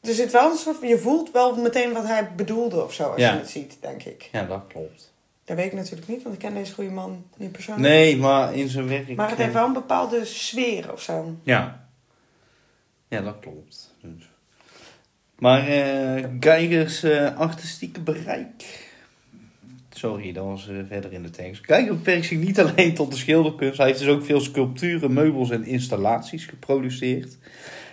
Speaker 1: er zit wel een soort van, je voelt wel meteen wat hij bedoelde of zo als
Speaker 2: Ja.
Speaker 1: je het ziet, denk ik.
Speaker 2: Ja, dat klopt.
Speaker 1: Dat weet ik natuurlijk niet, want ik ken deze goede man niet persoonlijk.
Speaker 2: Nee, maar in zijn werk...
Speaker 1: Ah. Maar het
Speaker 2: eh,
Speaker 1: heeft wel een bepaalde sfeer of zo.
Speaker 2: Ja. Ja, dat klopt. Dus. Maar eh Geigers eh, artistieke bereik... Sorry, dat was eh, verder in de tekst. Geiger beperkt zich niet alleen tot de schilderkunst. Hij heeft dus ook veel sculpturen, meubels en installaties geproduceerd.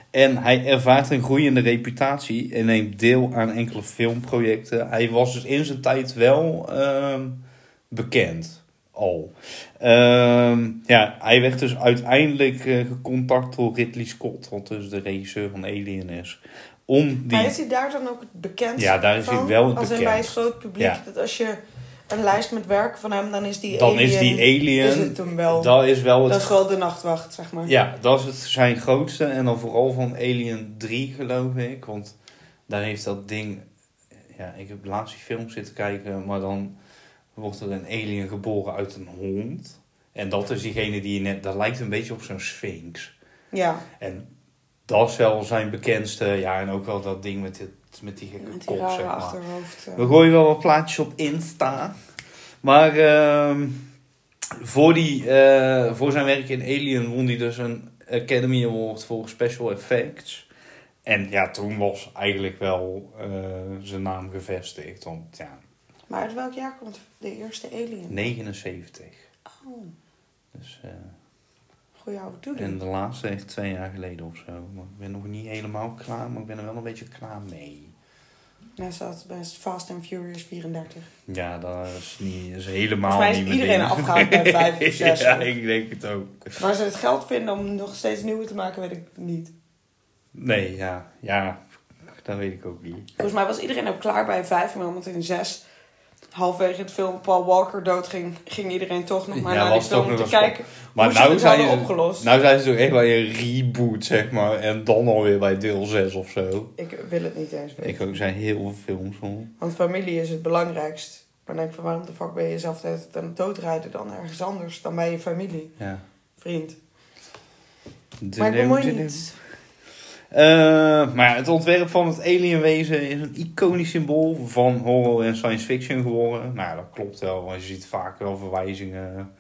Speaker 2: En hij ervaart een groeiende reputatie en neemt deel aan enkele filmprojecten. Hij was dus in zijn tijd wel ehm, bekend al. Ehm, ja, hij werd dus uiteindelijk eh, gecontact door Ridley Scott, wat dus de regisseur van Alien is. Om die...
Speaker 1: Maar is hij daar dan ook het bekend
Speaker 2: Ja, daar is
Speaker 1: van?
Speaker 2: hij wel het
Speaker 1: Als in
Speaker 2: bekend.
Speaker 1: bij het groot publiek,
Speaker 2: Ja.
Speaker 1: dat als je een lijst met werken van hem, dan is die
Speaker 2: Dan
Speaker 1: alien,
Speaker 2: is die Alien...
Speaker 1: is het hem wel.
Speaker 2: Dat is wel het
Speaker 1: dat is wel de nachtwacht, zeg maar.
Speaker 2: Ja, dat is het zijn grootste. En dan vooral van Alien 3, geloof ik. Want daar heeft dat ding... Ja, ik heb laatst die film zitten kijken. Maar dan wordt er een alien geboren uit een hond. En dat is diegene die je net... Dat lijkt een beetje op zo'n sphinx.
Speaker 1: Ja.
Speaker 2: En dat is wel zijn bekendste. Ja, en ook wel dat ding met, dit, met die gekke
Speaker 1: Met die
Speaker 2: kop,
Speaker 1: rare
Speaker 2: zeg maar.
Speaker 1: achterhoofd. eh.
Speaker 2: We gooien wel wat plaatjes op Insta. Maar ehm, voor, die, eh, voor zijn werk in Alien won hij dus een Academy Award voor Special Effects. En ja, toen was eigenlijk wel eh, zijn naam gevestigd. Want ja,
Speaker 1: Maar uit welk jaar komt de eerste alien?
Speaker 2: 79.
Speaker 1: Oh,
Speaker 2: Dus, eh,
Speaker 1: goeie oude toedoen.
Speaker 2: en de laatste echt twee jaar geleden of zo. Maar ik ben nog niet helemaal klaar, maar ik ben er wel een beetje klaar mee.
Speaker 1: Net zoals bij Fast and Furious 34.
Speaker 2: Ja, dat is, niet, is helemaal
Speaker 1: Volgens mij is
Speaker 2: niet mijn
Speaker 1: iedereen
Speaker 2: ding.
Speaker 1: afgehaakt bij vijf of zes.
Speaker 2: ja, ik denk het ook.
Speaker 1: Waar ze het geld vinden om nog steeds nieuwe te maken, weet ik niet.
Speaker 2: Nee, ja. Ja, Dat weet ik ook niet.
Speaker 1: Volgens mij was iedereen ook klaar bij vijf, maar omdat in zes halverwege het film Paul Walker doodging, ging iedereen toch nog maar
Speaker 2: Ja,
Speaker 1: naar die
Speaker 2: was toch
Speaker 1: film om
Speaker 2: nog
Speaker 1: te
Speaker 2: wel
Speaker 1: kijken
Speaker 2: Maar
Speaker 1: hoe ze
Speaker 2: nou
Speaker 1: het
Speaker 2: zijn
Speaker 1: hadden
Speaker 2: ze-
Speaker 1: opgelost.
Speaker 2: Nou zijn ze toch echt bij een reboot, zeg maar. En dan alweer bij deel 6 of zo.
Speaker 1: Ik wil het niet eens weten.
Speaker 2: Ik ook, er zijn heel veel films van.
Speaker 1: Want familie is het belangrijkst. Maar dan denk ik van waarom de fuck ben je jezelf de hele tijd aan het doodrijden dan ergens anders dan bij je familie,
Speaker 2: Ja.
Speaker 1: vriend.
Speaker 2: De
Speaker 1: Maar ik
Speaker 2: leeuw,
Speaker 1: bemoei
Speaker 2: de
Speaker 1: me
Speaker 2: leeuw.
Speaker 1: niet.
Speaker 2: Eh, maar ja, het ontwerp van het alienwezen is een iconisch symbool van horror en science fiction geworden. Nou, dat klopt wel, want je ziet vaak wel verwijzingen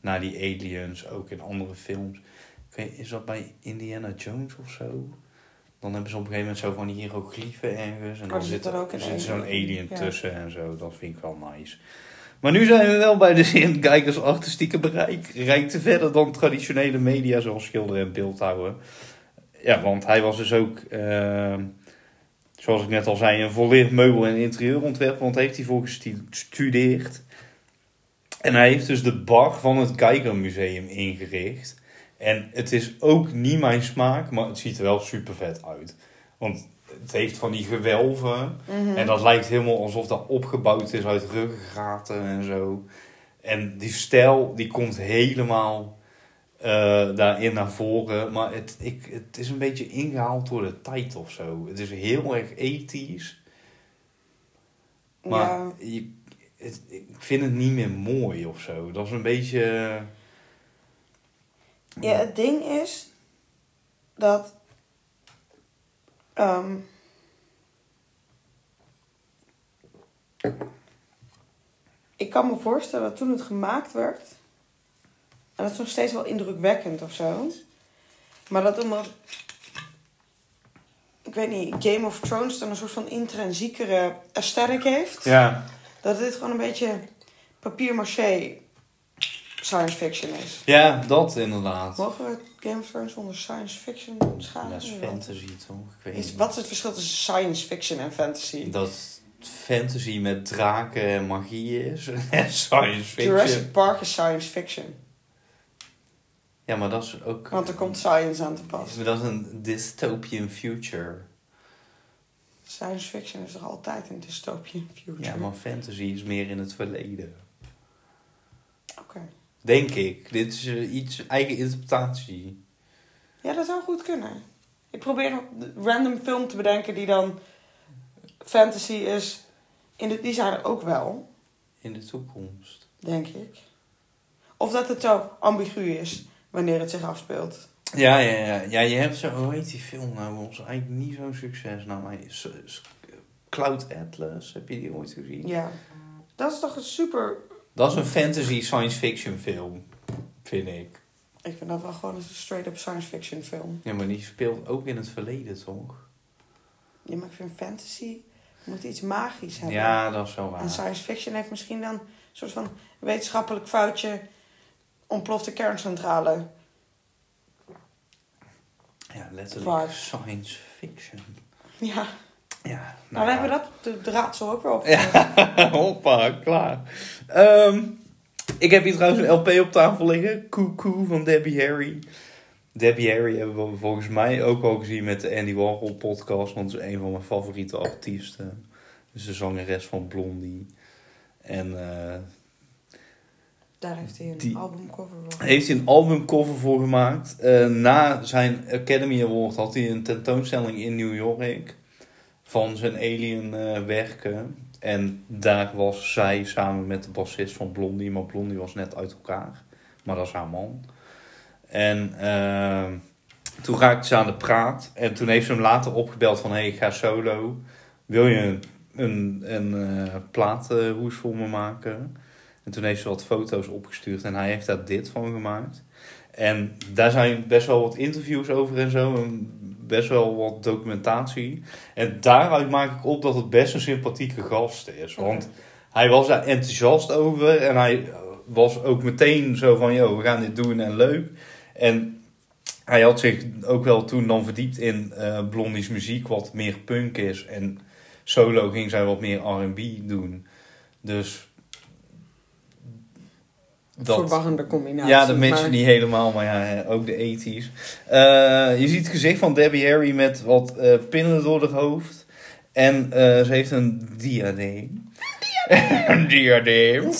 Speaker 2: naar die aliens, ook in andere films. Ik weet- Is dat bij Indiana Jones of zo? Dan hebben ze op een gegeven moment zo van die hieroglyphen ergens. En
Speaker 1: Oh,
Speaker 2: dan
Speaker 1: er zit
Speaker 2: zit
Speaker 1: er
Speaker 2: er
Speaker 1: ook een
Speaker 2: zit zo'n
Speaker 1: alien.
Speaker 2: alien
Speaker 1: Ja.
Speaker 2: tussen en zo. Dat vind ik wel nice. Maar nu zijn we wel bij de zin, kijkers artistieke bereik reikt verder dan traditionele media zoals schilderen en beeldhouden. Ja, want hij was dus ook, ehm, zoals ik net al zei, een volledig meubel- en interieurontwerper. Want heeft hij voor gesti- gestudeerd. En hij heeft dus de bar van het Geigermuseum ingericht. En het is ook niet mijn smaak, maar het ziet er wel super vet uit. Want het heeft van die gewelven. En dat lijkt helemaal alsof dat opgebouwd is uit ruggengraten en zo. En die stijl die komt helemaal eh, daarin naar voren. Maar het, ik, het is een beetje ingehaald door de tijd of zo. Het is heel erg ethisch. Maar
Speaker 1: Ja.
Speaker 2: je, het- ik vind het niet meer mooi of zo. Dat is een beetje. eh,
Speaker 1: Ja, het ding is dat. ehm, ik kan me voorstellen dat toen het gemaakt werd. En dat is nog steeds wel indrukwekkend of zo. Maar dat omdat. Ik weet niet, Game of Thrones dan een soort van intrinsiekere aesthetic heeft.
Speaker 2: Ja,
Speaker 1: Dat dit gewoon een beetje papier-maché science fiction is.
Speaker 2: ja dat inderdaad.
Speaker 1: Mogen we Game of Thrones onder science fiction scharen?
Speaker 2: Dat is fantasy toch? Ik weet
Speaker 1: Is-
Speaker 2: niet.
Speaker 1: wat is het verschil tussen science fiction en fantasy?
Speaker 2: Dat fantasy met draken en magie is. En science fiction.
Speaker 1: Jurassic Park is science fiction.
Speaker 2: Ja, maar dat is ook...
Speaker 1: Want er komt science aan te pas.
Speaker 2: Maar Dat is een dystopian future.
Speaker 1: Science fiction is toch altijd een dystopian future?
Speaker 2: Ja, maar fantasy is meer in het verleden.
Speaker 1: Oké.
Speaker 2: Denk ik. Dit is eh, iets eigen interpretatie.
Speaker 1: Ja, dat zou goed kunnen. Ik probeer een random film te bedenken die dan fantasy is. In de, die zijn er ook wel,
Speaker 2: In de toekomst.
Speaker 1: denk ik. Of dat het zo ambigu is wanneer het zich afspeelt.
Speaker 2: Ja, ja, ja. Ja, je hebt zo... Hoe heet die film nou? Was eigenlijk niet zo'n succes. Nou, maar... S- S- Cloud Atlas. Heb je die ooit gezien?
Speaker 1: Ja. Dat is toch een super
Speaker 2: Dat is een fantasy science fiction film. Vind ik.
Speaker 1: Ik vind dat wel gewoon een straight-up science fiction film.
Speaker 2: Ja, maar die speelt ook in het verleden, toch?
Speaker 1: Ja, maar ik vind fantasy moet iets magisch hebben.
Speaker 2: Ja, dat is wel
Speaker 1: En
Speaker 2: waar.
Speaker 1: science fiction heeft misschien dan een soort van wetenschappelijk foutje ontplofte kerncentrale.
Speaker 2: Ja,
Speaker 1: Waar.
Speaker 2: letterlijk science fiction.
Speaker 1: Ja, nou,
Speaker 2: Ja,
Speaker 1: dan
Speaker 2: nou, ja.
Speaker 1: hebben we dat de, de raadsel ook weer op.
Speaker 2: Ja, hoppa, klaar. Ehm, ik heb hier trouwens een LP op tafel liggen. Cuckoo van Debbie Harry. Debbie Harry hebben we volgens mij ook al gezien met de Andy Warhol podcast. Want ze is een van mijn favoriete artiesten. Dus de zangeres van Blondie. En eh,
Speaker 1: Daar heeft hij een
Speaker 2: Die-
Speaker 1: albumcover voor.
Speaker 2: heeft hij een albumcover voor gemaakt. Eh, na zijn Academy Award had hij een tentoonstelling in New York van zijn alien eh, werken. En daar was zij samen met de bassist van Blondie, maar Blondie was net uit elkaar. Maar dat is haar man. En eh, toen raakte ze aan de praat. En toen heeft ze hem later opgebeld van... Hé, hey, ik ga solo. Wil je een, een, een eh, platenhoes voor me maken? En toen heeft ze wat foto's opgestuurd en hij heeft daar dit van gemaakt. En daar zijn best wel wat interviews over en zo. En best wel wat documentatie. En daaruit maak ik op dat het best een sympathieke gast is. Want hij was daar enthousiast over. En hij was ook meteen zo van, joh, we gaan dit doen en leuk. En hij had zich ook wel toen dan verdiept in eh Blondie's muziek, wat meer punk is. En solo ging zij wat meer R&B doen. Dus...
Speaker 1: Verwarrende combinatie.
Speaker 2: Ja, dat mensen niet helemaal, maar ja, hè, ook de 80s. Eh, je ziet het gezicht van Debbie Harry met wat eh, pinnen door het hoofd. En eh, ze heeft een diadeem. Een diadeem.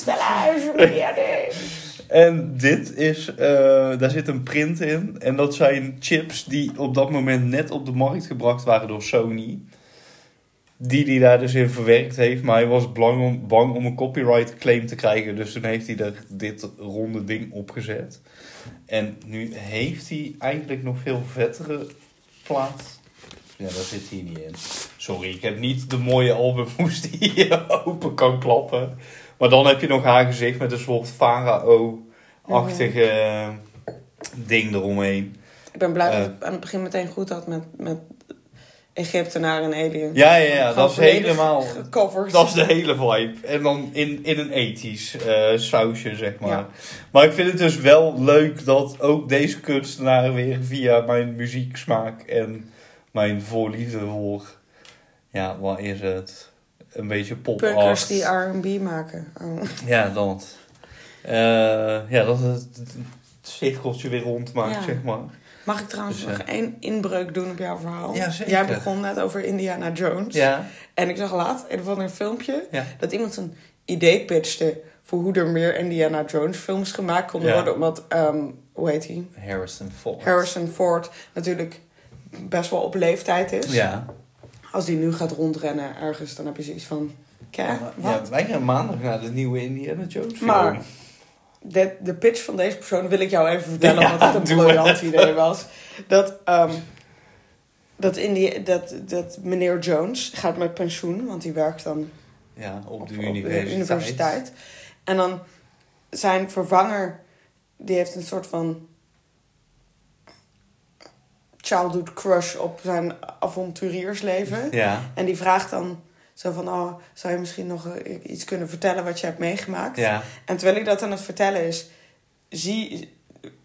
Speaker 2: En dit is, eh, daar zit een print in. En dat zijn chips die op dat moment net op de markt gebracht waren door Sony. Die die daar dus in verwerkt heeft. Maar hij was bang om, bang om een copyright claim te krijgen. Dus toen heeft hij er dit ronde ding opgezet. En nu heeft hij eigenlijk nog veel vettere plaat. Ja, dat zit hier niet in. Sorry, ik heb niet de mooie albumhoes die je open kan klappen. Maar dan heb je nog haar gezicht met een soort farao-achtige eh, ding eromheen.
Speaker 1: Ik ben blij
Speaker 2: Eh.
Speaker 1: dat ik aan het begin meteen goed had met, met Egyptenaar en alien.
Speaker 2: Ja, ja, ja,
Speaker 1: Gewoon
Speaker 2: dat is
Speaker 1: volledig
Speaker 2: helemaal...
Speaker 1: Gecoverd.
Speaker 2: Dat is de hele vibe. En dan in, in een ethisch eh, sausje, zeg maar.
Speaker 1: Ja.
Speaker 2: Maar ik vind het dus wel leuk dat ook deze kunstenaar weer via mijn muzieksmaak en mijn voorliefde voor... Ja, wat is het? Een beetje pop
Speaker 1: Punkers
Speaker 2: art.
Speaker 1: die R&B maken. Oh.
Speaker 2: Ja, dat. Eh, ja, dat het, het cirkeltje weer rond maakt,
Speaker 1: Ja.
Speaker 2: zeg maar.
Speaker 1: Mag ik trouwens
Speaker 2: Dus,
Speaker 1: nog één inbreuk doen op jouw verhaal?
Speaker 2: Ja, zeker.
Speaker 1: Jij begon net over Indiana Jones.
Speaker 2: Ja.
Speaker 1: En ik zag laat in van een filmpje
Speaker 2: Ja.
Speaker 1: dat iemand een idee pitchte voor hoe er meer Indiana Jones films gemaakt konden
Speaker 2: Ja.
Speaker 1: worden. Omdat, ehm, hoe heet hij?
Speaker 2: Harrison Ford.
Speaker 1: Harrison Ford natuurlijk best wel op leeftijd is.
Speaker 2: Ja.
Speaker 1: Als die nu gaat rondrennen ergens, dan heb je zoiets van... Kijk,
Speaker 2: Ja,
Speaker 1: wat?
Speaker 2: wij gaan maandag naar de nieuwe Indiana Jones film.
Speaker 1: Maar de, de pitch van deze persoon wil ik jou even vertellen,
Speaker 2: Ja,
Speaker 1: omdat het een
Speaker 2: doe
Speaker 1: briljant idee was. Dat, ehm, dat, Indi- dat, dat meneer Jones gaat met pensioen, want die werkt dan
Speaker 2: Ja, op, de
Speaker 1: op-
Speaker 2: universiteit.
Speaker 1: universiteit. En dan zijn vervanger, die heeft een soort van childhood crush op zijn avonturiersleven.
Speaker 2: Ja.
Speaker 1: En die vraagt dan zo van, oh, zou je misschien nog eh, iets kunnen vertellen wat je hebt meegemaakt?
Speaker 2: Ja.
Speaker 1: En terwijl ik dat aan het vertellen is, zie,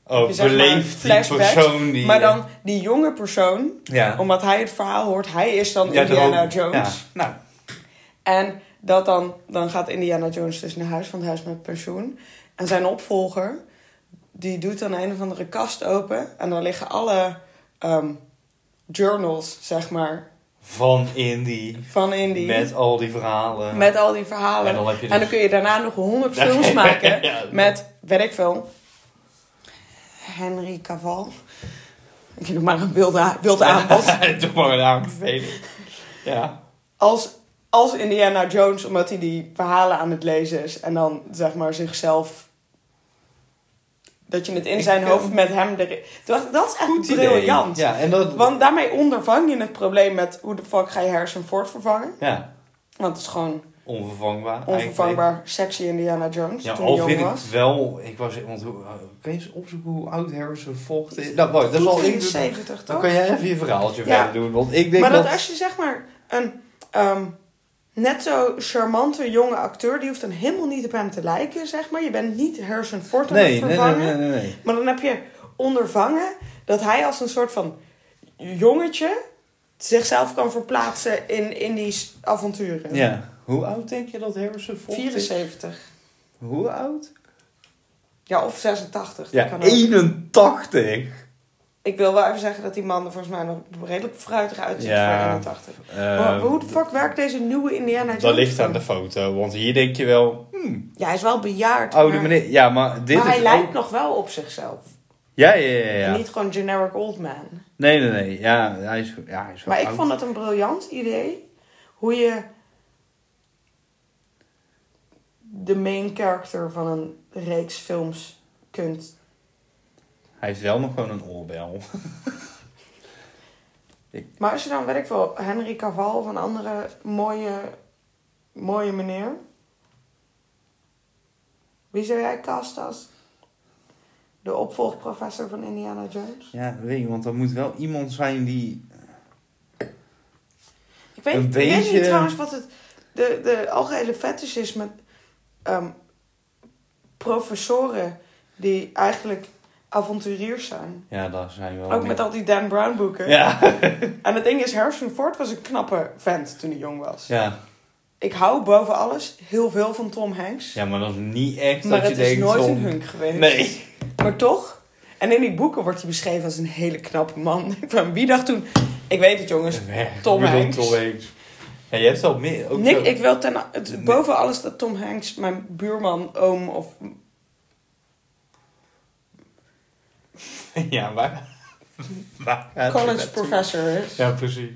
Speaker 2: Oh,
Speaker 1: je, zeg maar,
Speaker 2: beleeft die
Speaker 1: flashbacks,
Speaker 2: persoon die... eh,
Speaker 1: maar dan die jonge persoon,
Speaker 2: Ja.
Speaker 1: omdat hij het verhaal hoort, hij is dan
Speaker 2: Ja,
Speaker 1: Indiana
Speaker 2: daarom.
Speaker 1: Jones.
Speaker 2: Ja. Nou,
Speaker 1: En dat dan, dan gaat Indiana Jones dus naar huis, want hij is met pensioen. En zijn opvolger, die doet dan een of andere kast open. En daar liggen alle ehm, journals, zeg maar,
Speaker 2: van Indy.
Speaker 1: van Indy.
Speaker 2: Met al die verhalen.
Speaker 1: Met al die verhalen.
Speaker 2: En dan heb je dus-
Speaker 1: kun je daarna nog honderd films maken
Speaker 2: Ja.
Speaker 1: met, weet ik veel, Henry Cavill. Ik noem maar een wild, a- wild aanbod.
Speaker 2: Doe maar een aanbeveling. Ja.
Speaker 1: Als, als Indiana Jones, omdat hij die verhalen aan het lezen is. En dan zeg maar zichzelf... Dat je het in
Speaker 2: Ik
Speaker 1: zijn
Speaker 2: vind-
Speaker 1: hoofd met hem erin... Dat, dat is echt briljant.
Speaker 2: Ja, en dat...
Speaker 1: Want daarmee ondervang je het probleem met... Hoe de fuck ga je Harrison Ford vervangen?
Speaker 2: Ja,
Speaker 1: Want het is gewoon
Speaker 2: onvervangbaar. eigenlijk.
Speaker 1: onvervangbaar sexy Indiana Jones
Speaker 2: Ja,
Speaker 1: toen hij
Speaker 2: al
Speaker 1: jong
Speaker 2: vind
Speaker 1: was.
Speaker 2: ik wel... Ik was... Want hoe, eh, kun je eens opzoeken hoe oud Harrison Ford is? Nou, wacht, dat
Speaker 1: Goed
Speaker 2: zal
Speaker 1: in
Speaker 2: ik
Speaker 1: de
Speaker 2: doen.
Speaker 1: 70,
Speaker 2: Dan
Speaker 1: toch?
Speaker 2: kan jij even je verhaaltje
Speaker 1: Ja.
Speaker 2: verder doen. Want ik denk
Speaker 1: maar dat,
Speaker 2: dat...
Speaker 1: als je zeg maar een ehm, net zo charmante jonge acteur... die hoeft dan helemaal niet op hem te lijken, zeg maar. Je bent niet Harrison Ford aan het
Speaker 2: Nee, nee,
Speaker 1: vervangen.
Speaker 2: nee, nee, nee, nee.
Speaker 1: Maar dan heb je ondervangen dat hij als een soort van jongetje... zichzelf kan verplaatsen in, in die s- avonturen.
Speaker 2: Ja. Hoe oud denk je dat Harrison Ford is?
Speaker 1: 74.
Speaker 2: Hoe oud?
Speaker 1: Ja, of 86. dat
Speaker 2: Ja,
Speaker 1: kan ook.
Speaker 2: 81.
Speaker 1: Ik wil wel even zeggen dat die man er volgens mij nog redelijk fruitig uitziet
Speaker 2: Ja.
Speaker 1: voor 81. Maar hoe de fuck werkt deze nieuwe Indiana Jones?
Speaker 2: Ehm, dat ligt aan
Speaker 1: dan?
Speaker 2: de foto, want hier denk je wel,
Speaker 1: Ja, hij is wel bejaard.
Speaker 2: oude
Speaker 1: maar
Speaker 2: meneer. Ja, maar dit
Speaker 1: maar
Speaker 2: is
Speaker 1: hij lijkt
Speaker 2: ook-
Speaker 1: nog wel op zichzelf.
Speaker 2: Ja, ja, ja, ja.
Speaker 1: En niet gewoon generic old man.
Speaker 2: Nee, nee, nee. Ja, hij is, ja, hij is wel
Speaker 1: Maar ik
Speaker 2: oud.
Speaker 1: vond het een briljant idee hoe je de main character van een reeks films kunt.
Speaker 2: Hij heeft wel nog gewoon een oorbel.
Speaker 1: Maar als je dan, weet ik wel, Henry Cavill of een andere mooie, mooie meneer. Wie zou jij casten als de opvolgprofessor van Indiana Jones?
Speaker 2: Ja, weet je, want er moet wel iemand zijn die...
Speaker 1: Ik weet,
Speaker 2: Een
Speaker 1: ik weet
Speaker 2: beetje-
Speaker 1: niet trouwens wat het. De, de algehele fetish is met ehm, professoren die eigenlijk avonturiers zijn.
Speaker 2: Ja, daar zijn wel...
Speaker 1: Ook met al die Dan Brown boeken.
Speaker 2: Oh, Ja.
Speaker 1: En het ding is, Harrison Ford was een knappe vent toen hij jong was.
Speaker 2: ja.
Speaker 1: Ik hou boven alles heel veel van Tom Hanks.
Speaker 2: Ja, maar dat is niet echt
Speaker 1: maar
Speaker 2: dat
Speaker 1: het
Speaker 2: je
Speaker 1: is
Speaker 2: denkt...
Speaker 1: nooit
Speaker 2: om-
Speaker 1: een hunk geweest.
Speaker 2: Nee.
Speaker 1: Maar toch. En in die boeken wordt hij beschreven als een hele knappe man. Van wie dacht toen... Ik weet het jongens, Tom
Speaker 2: Ik bedoel,
Speaker 1: Hanks.
Speaker 2: Tom Hanks. Ja, je hebt wel meer. Ook
Speaker 1: Nick,
Speaker 2: zo-
Speaker 1: ik wil ten, het, boven alles dat Tom Hanks, mijn buurman, oom of...
Speaker 2: Ja, waar? waar gaat je
Speaker 1: college
Speaker 2: naartoe?
Speaker 1: professor is.
Speaker 2: Ja, precies.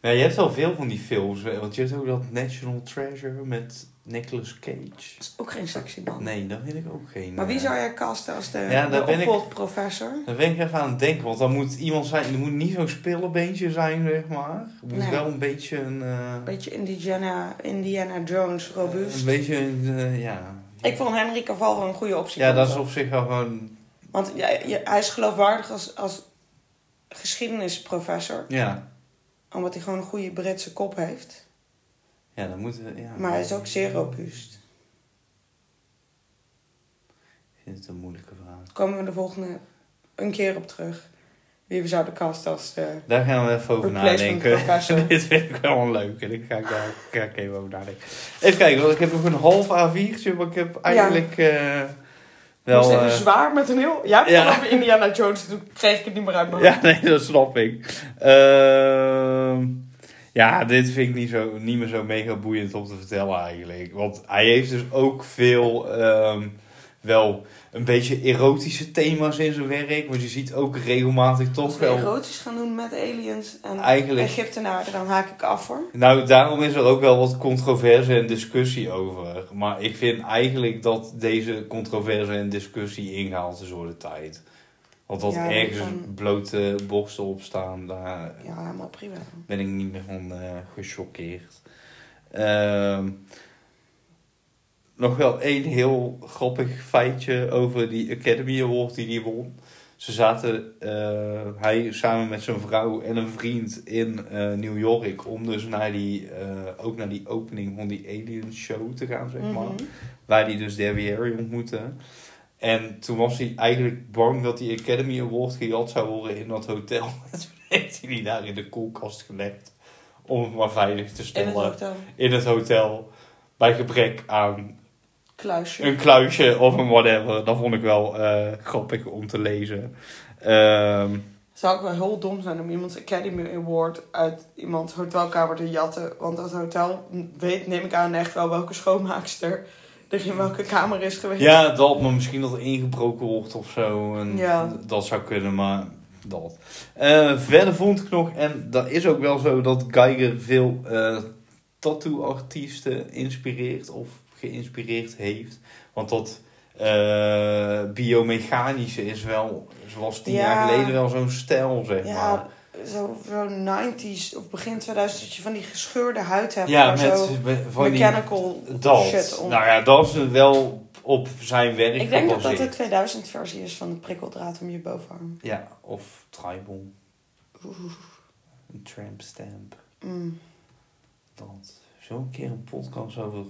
Speaker 2: Ja, je hebt wel veel van die films. hè, Want je hebt ook dat National Treasure met Nicolas Cage.
Speaker 1: Dat is ook geen sexy man.
Speaker 2: Nee, dat vind ik ook geen.
Speaker 1: Maar wie
Speaker 2: eh,
Speaker 1: zou jij casten als de,
Speaker 2: Ja, daar
Speaker 1: de
Speaker 2: ben ik-
Speaker 1: opvolgprofessor?
Speaker 2: Daar ben ik even aan het denken. Want dan moet iemand zijn... Er moet niet zo'n spillebeentje zijn, zeg maar. Er moet
Speaker 1: Nee.
Speaker 2: wel een beetje een... eh,
Speaker 1: Een beetje Indiana, Indiana Jones robuust.
Speaker 2: Een beetje een... eh, ja.
Speaker 1: Ik vond Henry Cavill wel een goede optie.
Speaker 2: Ja,
Speaker 1: voor
Speaker 2: dat is
Speaker 1: zo.
Speaker 2: op zich wel gewoon...
Speaker 1: Want ja, je- hij is geloofwaardig als, als geschiedenisprofessor.
Speaker 2: Ja.
Speaker 1: Omdat hij gewoon een goede Britse kop heeft.
Speaker 2: Ja, dan moeten we... Ja.
Speaker 1: Maar hij is ook zeer robuust.
Speaker 2: Ik vind het een moeilijke vraag.
Speaker 1: Daar komen we de volgende een keer op terug. Wie we zouden casten als... De...
Speaker 2: Daar gaan we even over
Speaker 1: Replacement
Speaker 2: nadenken.
Speaker 1: professor.
Speaker 2: Dit vind ik wel leuk. En ik ga, ik daar, ga ik even over nadenken. Even kijken, want ik heb nog een half A4'tje. Maar ik heb eigenlijk eh,
Speaker 1: Wel,
Speaker 2: wel...
Speaker 1: even
Speaker 2: eh,
Speaker 1: zwaar met een heel... Ja,
Speaker 2: Ja.
Speaker 1: vanaf Indiana Jones toen kreeg ik het niet meer uit mijn hoofd.
Speaker 2: Ja, nee, dat snap ik. Ehm, ja, dit vind ik niet, zo, niet meer zo mega boeiend om te vertellen eigenlijk. Want hij heeft dus ook veel, ehm, wel een beetje erotische thema's in zijn werk. Want je ziet ook regelmatig
Speaker 1: Als
Speaker 2: toch
Speaker 1: we
Speaker 2: wel...
Speaker 1: erotisch gaan doen met aliens en
Speaker 2: Eigenlijk-
Speaker 1: Egyptenaren, dan haak ik af hoor.
Speaker 2: Nou, daarom is er ook wel wat controverse en discussie over. Maar ik vind eigenlijk dat deze controverse en discussie ingehaald is door de tijd. Want dat
Speaker 1: Ja, dat
Speaker 2: ergens
Speaker 1: kan.
Speaker 2: blote borsten op staan, daar
Speaker 1: Ja, helemaal prima.
Speaker 2: ben ik niet meer van eh gechoqueerd. Ehm, nog wel één heel grappig feitje over die Academy Award die hij won. Ze zaten, eh, hij samen met zijn vrouw en een vriend in eh, New York om dus naar die, eh, ook naar die opening van die Alien Show te gaan, zeg maar
Speaker 1: Mhm.
Speaker 2: waar hij dus Debbie Harry ontmoette. En toen was hij eigenlijk bang dat die Academy Award gejat zou worden in dat hotel. En toen heeft hij die daar in de koelkast gelegd om het maar veilig te
Speaker 1: In
Speaker 2: stellen.
Speaker 1: het hotel.
Speaker 2: In het hotel, bij gebrek aan
Speaker 1: Kluisje.
Speaker 2: een kluisje of een whatever. Dat vond ik wel eh, grappig om te lezen. Ehm,
Speaker 1: Zou ik wel heel dom zijn om iemands Academy Award uit iemands hotelkamer te jatten. Want dat hotel weet, neem ik aan, echt wel welke schoonmaakster er in welke kamer is geweest.
Speaker 2: ja, dat, maar misschien dat er ingebroken wordt of zo. En
Speaker 1: Ja.
Speaker 2: Dat zou kunnen, maar dat. Eh, verder vond ik nog, en dat is ook wel zo, dat Geiger veel eh tattoo-artiesten inspireert of geïnspireerd heeft. Want dat eh, biomechanische is wel, zoals tien
Speaker 1: Ja.
Speaker 2: jaar geleden, wel zo'n stijl, zeg maar.
Speaker 1: Ja, zo, zo 90s of begin 2000 dat je van die gescheurde huid hebt.
Speaker 2: Ja,
Speaker 1: waar
Speaker 2: met
Speaker 1: zo
Speaker 2: met- van die...
Speaker 1: mechanical shit
Speaker 2: Dat.
Speaker 1: om.
Speaker 2: Nou ja, dat is wel op zijn werk
Speaker 1: ik denk dat dat de
Speaker 2: gebaseerd.
Speaker 1: 2000 versie is van de prikkeldraad om je bovenarm.
Speaker 2: Ja, of tribal. Een tramp stamp. Mhm.
Speaker 1: Mm.
Speaker 2: dat zo'n keer een podcast over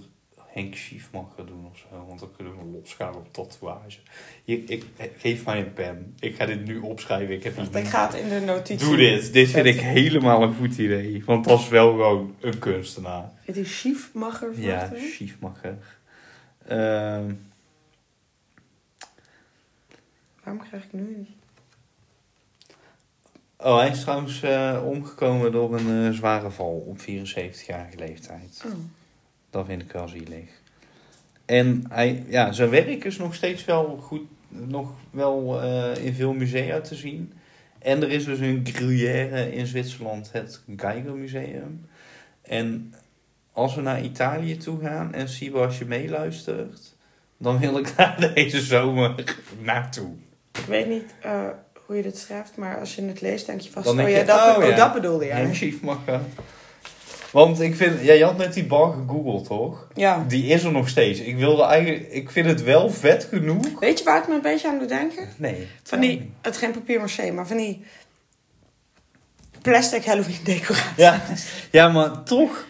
Speaker 2: Henk Schiefman gaan doen of zo. Want dan kunnen we losgaan op tatoeage. Hier, ik, eh, geef mij een pen. Ik ga dit nu opschrijven. Ik heb
Speaker 1: Want
Speaker 2: niet.
Speaker 1: Ik ga het in de notitie.
Speaker 2: Doe dit. Dit vind ik helemaal een goed idee. Want dat is wel gewoon een kunstenaar.
Speaker 1: Het is Schiefmacher van
Speaker 2: Ja,
Speaker 1: achteren?
Speaker 2: Schiefmacher. Ehm,
Speaker 1: Waarom krijg ik nu een...
Speaker 2: oh, hij is trouwens eh, omgekomen door een eh, zware val op 74-jarige leeftijd.
Speaker 1: Oh.
Speaker 2: Dat vind ik wel zielig. En hij, ja, zijn werk is nog steeds wel goed, nog wel eh, in veel musea te zien. En er is dus een Gruyère in Zwitserland, het Geiger Museum. En als we naar Italië toe gaan en Sibo als je meeluistert, dan wil ik daar deze zomer naartoe.
Speaker 1: Ik weet niet eh, hoe je dit schrijft, maar als je het leest, denk je vast...
Speaker 2: Dan denk
Speaker 1: oh, ja,
Speaker 2: je,
Speaker 1: dat,
Speaker 2: oh,
Speaker 1: oh,
Speaker 2: ja.
Speaker 1: dat bedoelde
Speaker 2: Ja.
Speaker 1: jij.
Speaker 2: Chief mag gaan. Want ik vind, ja, je had net die bar gegoogeld, toch?
Speaker 1: Ja.
Speaker 2: Die is er nog steeds. Ik wilde eigenlijk, ik vind het wel vet genoeg.
Speaker 1: Weet je waar het me een beetje aan doet denken?
Speaker 2: Nee.
Speaker 1: Van die... Het is geen papier maché, maar van die... Plastic Halloween decoratie.
Speaker 2: Ja, ja maar toch.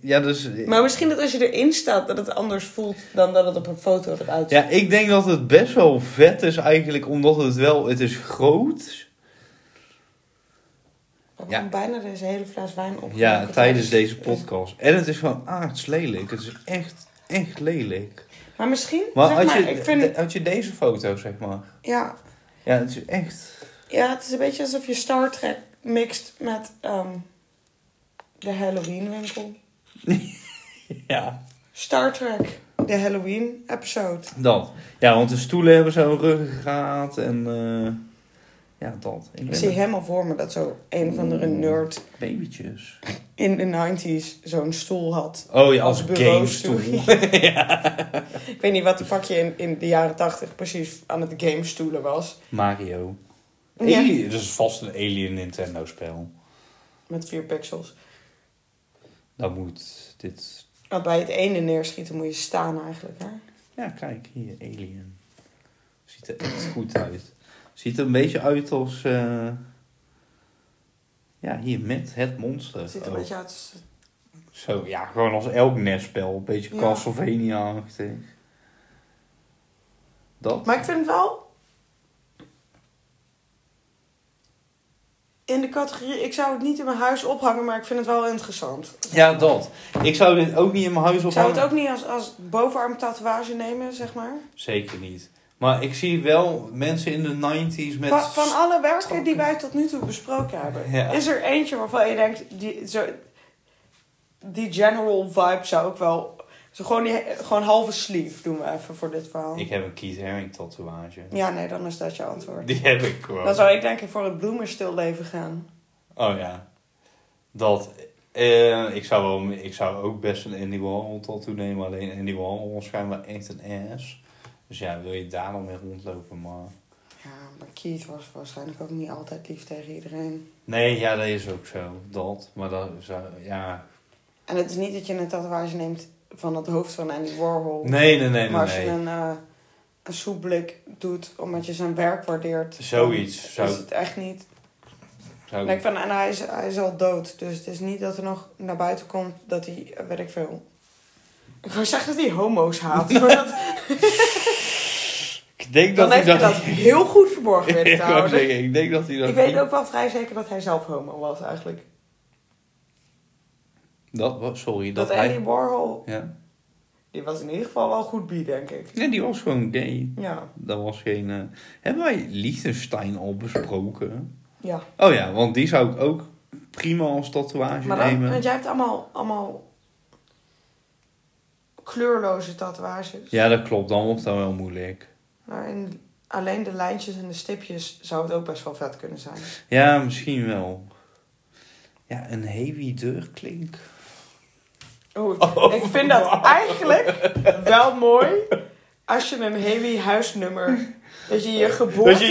Speaker 2: Ja, dus.
Speaker 1: Maar misschien dat als je erin staat, dat het anders voelt dan dat het op een foto eruit ziet.
Speaker 2: Ja, ik denk dat het best wel vet is eigenlijk, omdat het wel. Het is groot.
Speaker 1: We
Speaker 2: Ja.
Speaker 1: hebben bijna deze hele fles wijn op.
Speaker 2: Ja, tijdens deze podcast. En het is gewoon aards lelijk. Het is echt, echt lelijk.
Speaker 1: Maar misschien,
Speaker 2: Maar,
Speaker 1: zeg
Speaker 2: als,
Speaker 1: maar,
Speaker 2: je,
Speaker 1: ik vind het...
Speaker 2: als je deze foto, zeg maar.
Speaker 1: Ja,
Speaker 2: Ja, het is echt.
Speaker 1: Ja, het is een beetje alsof je Star Trek mixt met ehm, de Halloween winkel.
Speaker 2: Ja,
Speaker 1: Star Trek, de Halloween episode.
Speaker 2: dat. Ja, want de stoelen hebben zo'n ruggengraat en... eh, ja, dat.
Speaker 1: Ik zie
Speaker 2: het.
Speaker 1: helemaal voor me dat zo een van de nerd
Speaker 2: Babytjes.
Speaker 1: in de 90s zo'n stoel had.
Speaker 2: Oh ja,
Speaker 1: Als
Speaker 2: als,
Speaker 1: bureaustoel.
Speaker 2: gamestoel.
Speaker 1: Ik weet niet wat de vakje in, in de jaren 80 precies aan het game stoelen was.
Speaker 2: Mario.
Speaker 1: Ja.
Speaker 2: Alien, dat is vast een Alien Nintendo spel.
Speaker 1: Met vier pixels.
Speaker 2: Dan moet dit...
Speaker 1: Maar bij het ene neerschieten moet je staan eigenlijk. Hè?
Speaker 2: Ja, kijk, hier, Alien. Ziet er echt goed uit. Ziet er een beetje uit als... eh, Ja, hier, met het monster.
Speaker 1: Het ziet er een
Speaker 2: ook.
Speaker 1: beetje uit als
Speaker 2: Zo, ja, gewoon als elk nestspel. Een beetje
Speaker 1: Ja.
Speaker 2: Castlevania-achtig. Dat?
Speaker 1: Maar ik vind het wel. In de categorie. Ik zou het niet in mijn huis ophangen, maar ik vind het wel interessant.
Speaker 2: Ja, dat. Ik zou dit ook niet in mijn huis
Speaker 1: Ik
Speaker 2: ophangen.
Speaker 1: zou het ook niet als, als bovenarm tatoeage nemen, zeg maar.
Speaker 2: Zeker niet. Maar ik zie wel mensen in de 90s met...
Speaker 1: Van, van alle werken die wij tot nu toe besproken hebben,
Speaker 2: Ja.
Speaker 1: is er eentje waarvan je denkt. Die, zo, die general vibe zou ook wel. Zo gewoon, die, gewoon halve sleeve doen we even voor dit verhaal.
Speaker 2: Ik heb een Keith Haring tatoeage.
Speaker 1: Ja, nee, dan is dat je antwoord.
Speaker 2: Die heb ik gewoon.
Speaker 1: Dan zou ik denk ik voor het bloemenstilleven gaan.
Speaker 2: Oh ja. Dat. eh, ik, zou wel, ik zou ook best een Andy Warhol tattoo nemen. Alleen Andy Warhol was schijnbaar echt een ass. Dus ja, wil je daar dan mee rondlopen? Maar...
Speaker 1: Ja, maar Keith was waarschijnlijk ook niet altijd lief tegen iedereen.
Speaker 2: Nee, ja, dat is ook zo. Dat. Maar dat zou... Ja.
Speaker 1: En het is niet dat je een tatoeage neemt van het hoofd van Andy Warhol.
Speaker 2: Nee, nee, nee,
Speaker 1: maar als
Speaker 2: nee.
Speaker 1: je
Speaker 2: nee.
Speaker 1: een, eh een soepblik doet omdat je zijn werk waardeert.
Speaker 2: Zoiets.
Speaker 1: dan
Speaker 2: Zou,
Speaker 1: Is het echt niet.
Speaker 2: zou...
Speaker 1: Nee, ik van, en hij is, hij is al dood. Dus het is niet dat er nog naar buiten komt dat hij, eh, weet ik veel. Ik wou zeggen dat hij homo's haat. Maar dat,
Speaker 2: Ik denk dat
Speaker 1: dan
Speaker 2: hij
Speaker 1: heeft hij
Speaker 2: dat...
Speaker 1: dat heel goed verborgen weten
Speaker 2: ik,
Speaker 1: te
Speaker 2: wou
Speaker 1: houden.
Speaker 2: zeggen, ik denk dat hij dat...
Speaker 1: Ik weet ook wel vrij zeker dat hij zelf homo was eigenlijk.
Speaker 2: Dat, was- sorry, dat,
Speaker 1: Dat,
Speaker 2: hij...
Speaker 1: Andy Warhol,
Speaker 2: Ja.
Speaker 1: die was in ieder geval wel goed bi, denk ik.
Speaker 2: Nee, die was gewoon gay.
Speaker 1: Ja.
Speaker 2: Dat was geen... eh, Hebben wij Liechtenstein al besproken?
Speaker 1: Ja,
Speaker 2: Oh ja, want die zou ik ook prima als tatoeage
Speaker 1: maar dan,
Speaker 2: nemen.
Speaker 1: want jij hebt allemaal, allemaal kleurloze tatoeages.
Speaker 2: Ja, dat klopt. Dan wordt dat wel moeilijk.
Speaker 1: Waarin alleen de lijntjes en de stipjes zou het ook best wel vet kunnen zijn.
Speaker 2: Ja, misschien wel. Ja, een heavy deurklink.
Speaker 1: Oeh, ik- ik vind dat eigenlijk wel mooi als je een heavy huisnummer, dat je je geboorte...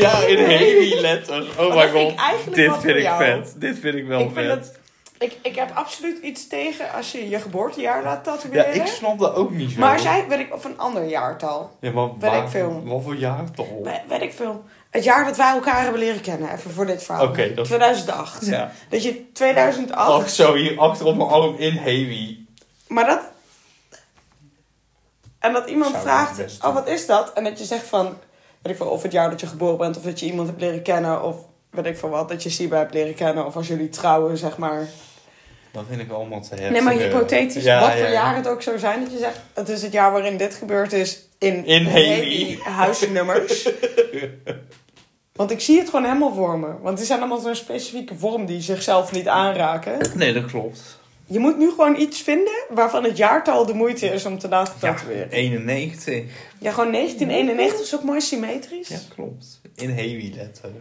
Speaker 2: ja, in heavy letters. Oh
Speaker 1: my vind ik god. eigenlijk
Speaker 2: Dit
Speaker 1: wat
Speaker 2: vind
Speaker 1: voor
Speaker 2: ik
Speaker 1: jou.
Speaker 2: vet. Dit vind ik wel
Speaker 1: ik
Speaker 2: vet.
Speaker 1: vind dat, ik, ik heb absoluut iets tegen als je je geboortejaar laat
Speaker 2: Ja,
Speaker 1: tatoeëren.
Speaker 2: ik snap dat ook niet zo.
Speaker 1: maar zij, weet ik, of een ander jaartal.
Speaker 2: Ja, maar
Speaker 1: weet
Speaker 2: waar-
Speaker 1: ik veel.
Speaker 2: Wat voor jaartal?
Speaker 1: We- Weet ik veel. Het jaar dat wij elkaar hebben leren kennen, even voor dit verhaal.
Speaker 2: Oké, dat-
Speaker 1: 2008.
Speaker 2: Ja.
Speaker 1: Dat je 2008.
Speaker 2: Ach, zo hier achter op mijn arm in heavy.
Speaker 1: Maar dat. En dat iemand
Speaker 2: Zou ik
Speaker 1: vraagt:
Speaker 2: best doen.
Speaker 1: Oh, wat is dat? En dat je zegt van. Weet ik veel, of het jaar dat je geboren bent, of dat je iemand hebt leren kennen, of weet ik veel wat, dat je Siba hebt leren kennen, of als jullie trouwen, zeg maar.
Speaker 2: Dat vind ik allemaal te heftig.
Speaker 1: Nee, maar
Speaker 2: eh.
Speaker 1: hypothetisch,
Speaker 2: Ja,
Speaker 1: wat
Speaker 2: ja,
Speaker 1: voor
Speaker 2: ja.
Speaker 1: jaar het ook zou zijn dat je zegt... het is het jaar waarin dit gebeurd is in,
Speaker 2: In Haley.
Speaker 1: Haley huisnummers. Want ik zie het gewoon helemaal voor me. Want die zijn allemaal zo'n specifieke vorm die zichzelf niet aanraken.
Speaker 2: Nee, dat klopt.
Speaker 1: Je moet nu gewoon iets vinden waarvan het jaartal de moeite is om te laten tatoeëren. Ja,
Speaker 2: 91.
Speaker 1: gewoon 1991 is ook mooi symmetrisch. Ja.
Speaker 2: Ja, klopt. In heavy letters.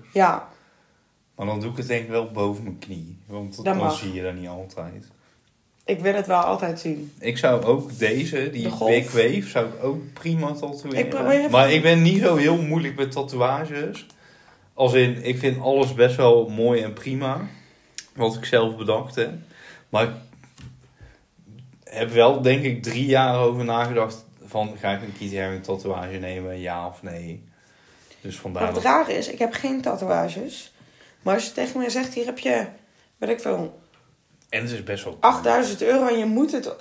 Speaker 2: Maar dan doe ik het denk ik wel boven mijn knie. Want
Speaker 1: Dat
Speaker 2: dan
Speaker 1: mag.
Speaker 2: zie je dat niet altijd.
Speaker 1: ik wil het wel altijd zien.
Speaker 2: Ik zou ook deze, die
Speaker 1: De golf.
Speaker 2: Big Wave, zou ik ook prima tatoeëren.
Speaker 1: Ik probeer even-
Speaker 2: Maar ik ben niet zo heel moeilijk met tatoeages. Als in, ik vind alles best wel mooi en prima. Wat ik zelf bedacht heb. Maar ik heb wel denk ik drie jaar over nagedacht van... Ga ik een Keith Haring tatoeage nemen, ja of nee? Dus
Speaker 1: Maar
Speaker 2: vandaar
Speaker 1: het
Speaker 2: dat...
Speaker 1: rare is, ik heb geen tatoeages. Maar als je tegen mij zegt, hier heb je, weet ik veel,
Speaker 2: En het is best wel...
Speaker 1: 8000 euro en je moet het.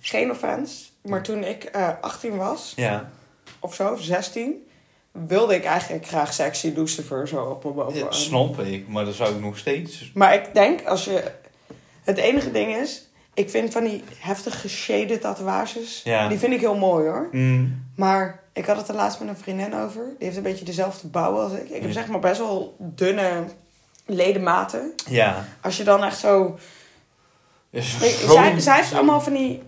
Speaker 1: Geen offense, maar toen ik eh, 18 was
Speaker 2: Ja.
Speaker 1: of zo, of 16, wilde ik eigenlijk graag sexy Lucifer zo op mijn
Speaker 2: Ja,
Speaker 1: bovenarm.
Speaker 2: snap ik, maar dat zou ik nog steeds.
Speaker 1: Maar ik denk als je. Het enige ding is, ik vind van die heftig geshaded tatoeages,
Speaker 2: Ja.
Speaker 1: die vind ik heel mooi hoor.
Speaker 2: Mm.
Speaker 1: Maar ik had het er laatst met een vriendin over. Die heeft een beetje dezelfde bouw als ik. Ik heb
Speaker 2: Ja.
Speaker 1: zeg maar best wel dunne ledematen.
Speaker 2: Ja.
Speaker 1: Als je dan echt zo...
Speaker 2: Is
Speaker 1: Nee,
Speaker 2: zo'n-
Speaker 1: zij, zij heeft
Speaker 2: zo'n-
Speaker 1: allemaal van die...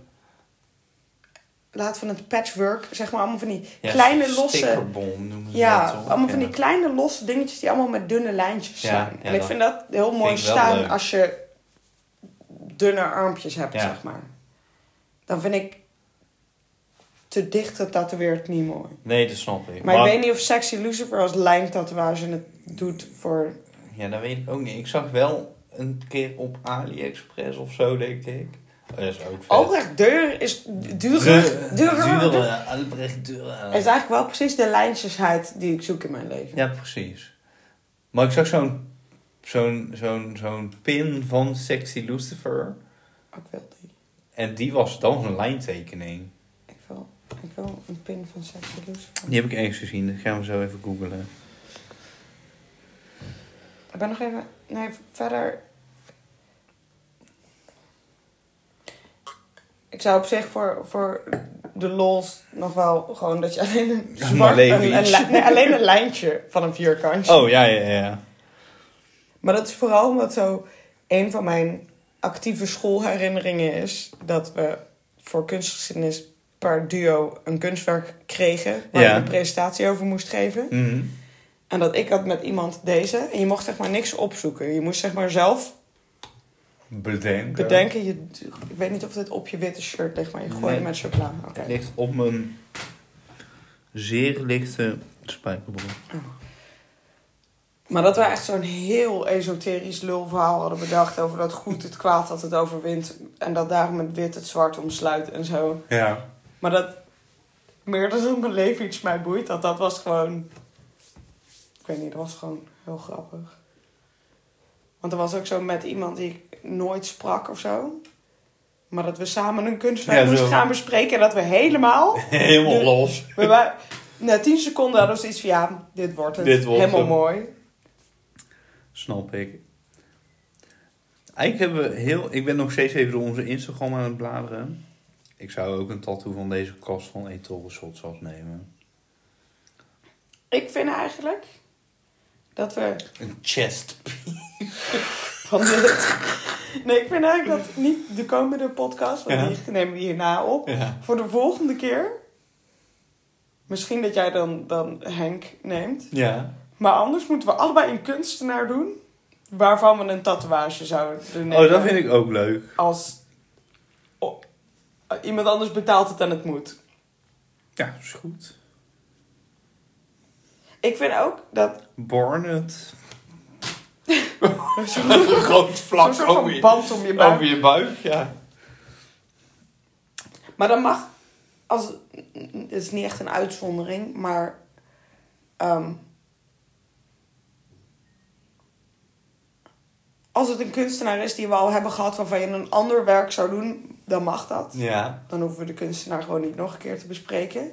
Speaker 1: Laten we het patchwork, zeg maar, allemaal van die
Speaker 2: ja,
Speaker 1: kleine losse...
Speaker 2: Stickerbom noemen ze
Speaker 1: Ja,
Speaker 2: dat toch?
Speaker 1: allemaal van
Speaker 2: Ja.
Speaker 1: die kleine losse dingetjes die allemaal met dunne lijntjes
Speaker 2: Ja,
Speaker 1: zijn.
Speaker 2: ja,
Speaker 1: en ik
Speaker 2: dat
Speaker 1: vind dat heel mooi
Speaker 2: ik wel
Speaker 1: staan
Speaker 2: leuk.
Speaker 1: als je dunne armpjes hebt,
Speaker 2: Ja.
Speaker 1: zeg maar. Dan vind ik te dicht getatoeëerd niet mooi.
Speaker 2: Nee, dat snap ik.
Speaker 1: Maar, ik weet niet of Sexy Lucifer als lijntatoeage het doet voor...
Speaker 2: Ja, dat weet ik ook niet. Ik zag wel een keer op AliExpress of zo, denk ik. Oh, dat is ook vet.
Speaker 1: Albrecht Deur is duurder.
Speaker 2: Dure-
Speaker 1: Duurder.
Speaker 2: dure, Albrecht Dure.
Speaker 1: Het is eigenlijk wel precies de lijntjesheid die ik zoek in mijn leven.
Speaker 2: Ja, precies. Maar ik zag zo'n zo'n zo'n zo'n pin van Sexy Lucifer.
Speaker 1: Ik wil die.
Speaker 2: En die was dan een lijntekening.
Speaker 1: Ik wil, ik wil een pin van Sexy Lucifer.
Speaker 2: Die heb ik ergens gezien. Dat gaan we zo even googlen.
Speaker 1: Ik ben nog even... Nee, verder... Ik zou op zich voor, voor de lols nog wel gewoon dat je alleen een
Speaker 2: Ja,
Speaker 1: zwart...
Speaker 2: maar
Speaker 1: Een,
Speaker 2: leven
Speaker 1: een
Speaker 2: iets.
Speaker 1: lijn- nee, alleen een lijntje van een vierkantje.
Speaker 2: Oh, ja, ja, ja.
Speaker 1: Maar dat is vooral omdat zo een van mijn actieve schoolherinneringen is dat we voor kunstgeschiedenis per duo een kunstwerk kregen waar
Speaker 2: Ja.
Speaker 1: je een presentatie over moest geven.
Speaker 2: Mhm.
Speaker 1: En dat ik had met iemand deze en je mocht zeg maar niks opzoeken. Je moest zeg maar zelf
Speaker 2: Bedenken.
Speaker 1: bedenken. Je, ik weet niet of dit op je witte shirt ligt, maar je gooide
Speaker 2: Nee.
Speaker 1: met chocola. Oké.
Speaker 2: Het ligt op mijn zeer lichte spijkerbroek.
Speaker 1: Maar dat we echt zo'n heel esoterisch lulverhaal hadden bedacht over dat goed het kwaad dat het overwint en dat daarom het wit het zwart omsluit en zo.
Speaker 2: Ja.
Speaker 1: Maar dat meer dan mijn leven iets mij boeit, dat dat was gewoon. Ik weet niet, dat was gewoon heel grappig. Want er was ook zo met iemand die ik nooit sprak of zo. Maar dat we samen een kunstwerk
Speaker 2: Ja, zo.
Speaker 1: moesten gaan bespreken en dat we helemaal.
Speaker 2: Helemaal los.
Speaker 1: we wa- na tien seconden hadden we zoiets van ja, dit wordt het.
Speaker 2: Dit wordt
Speaker 1: helemaal
Speaker 2: hem.
Speaker 1: mooi.
Speaker 2: Snap ik. Eigenlijk hebben we heel... Ik ben nog steeds even door onze Instagram aan het bladeren. Ik zou ook een tattoo van deze kast van Etol Shotsas nemen.
Speaker 1: Ik vind eigenlijk dat we
Speaker 2: Een chest.
Speaker 1: van dit. Nee, ik vind eigenlijk dat niet de komende podcast, want
Speaker 2: Ja.
Speaker 1: die nemen we hierna op.
Speaker 2: Ja.
Speaker 1: Voor de volgende keer. Misschien dat jij dan, dan Henk neemt.
Speaker 2: Ja.
Speaker 1: Maar anders moeten we allebei een kunstenaar doen. Waarvan we een tatoeage zouden nemen.
Speaker 2: Oh, dat vind ik ook leuk.
Speaker 1: Als o- iemand anders betaalt het en het moet.
Speaker 2: Ja, is goed.
Speaker 1: Ik vind ook dat
Speaker 2: Barnet.
Speaker 1: zo'n
Speaker 2: Een groot
Speaker 1: zo'n
Speaker 2: vlak
Speaker 1: soort van band om je buik.
Speaker 2: je buik, ja.
Speaker 1: Maar dan mag, als, het is niet echt een uitzondering, maar ehm, als het een kunstenaar is die we al hebben gehad waarvan je een ander werk zou doen, dan mag dat.
Speaker 2: Ja.
Speaker 1: Dan hoeven we de kunstenaar gewoon niet nog een keer te bespreken.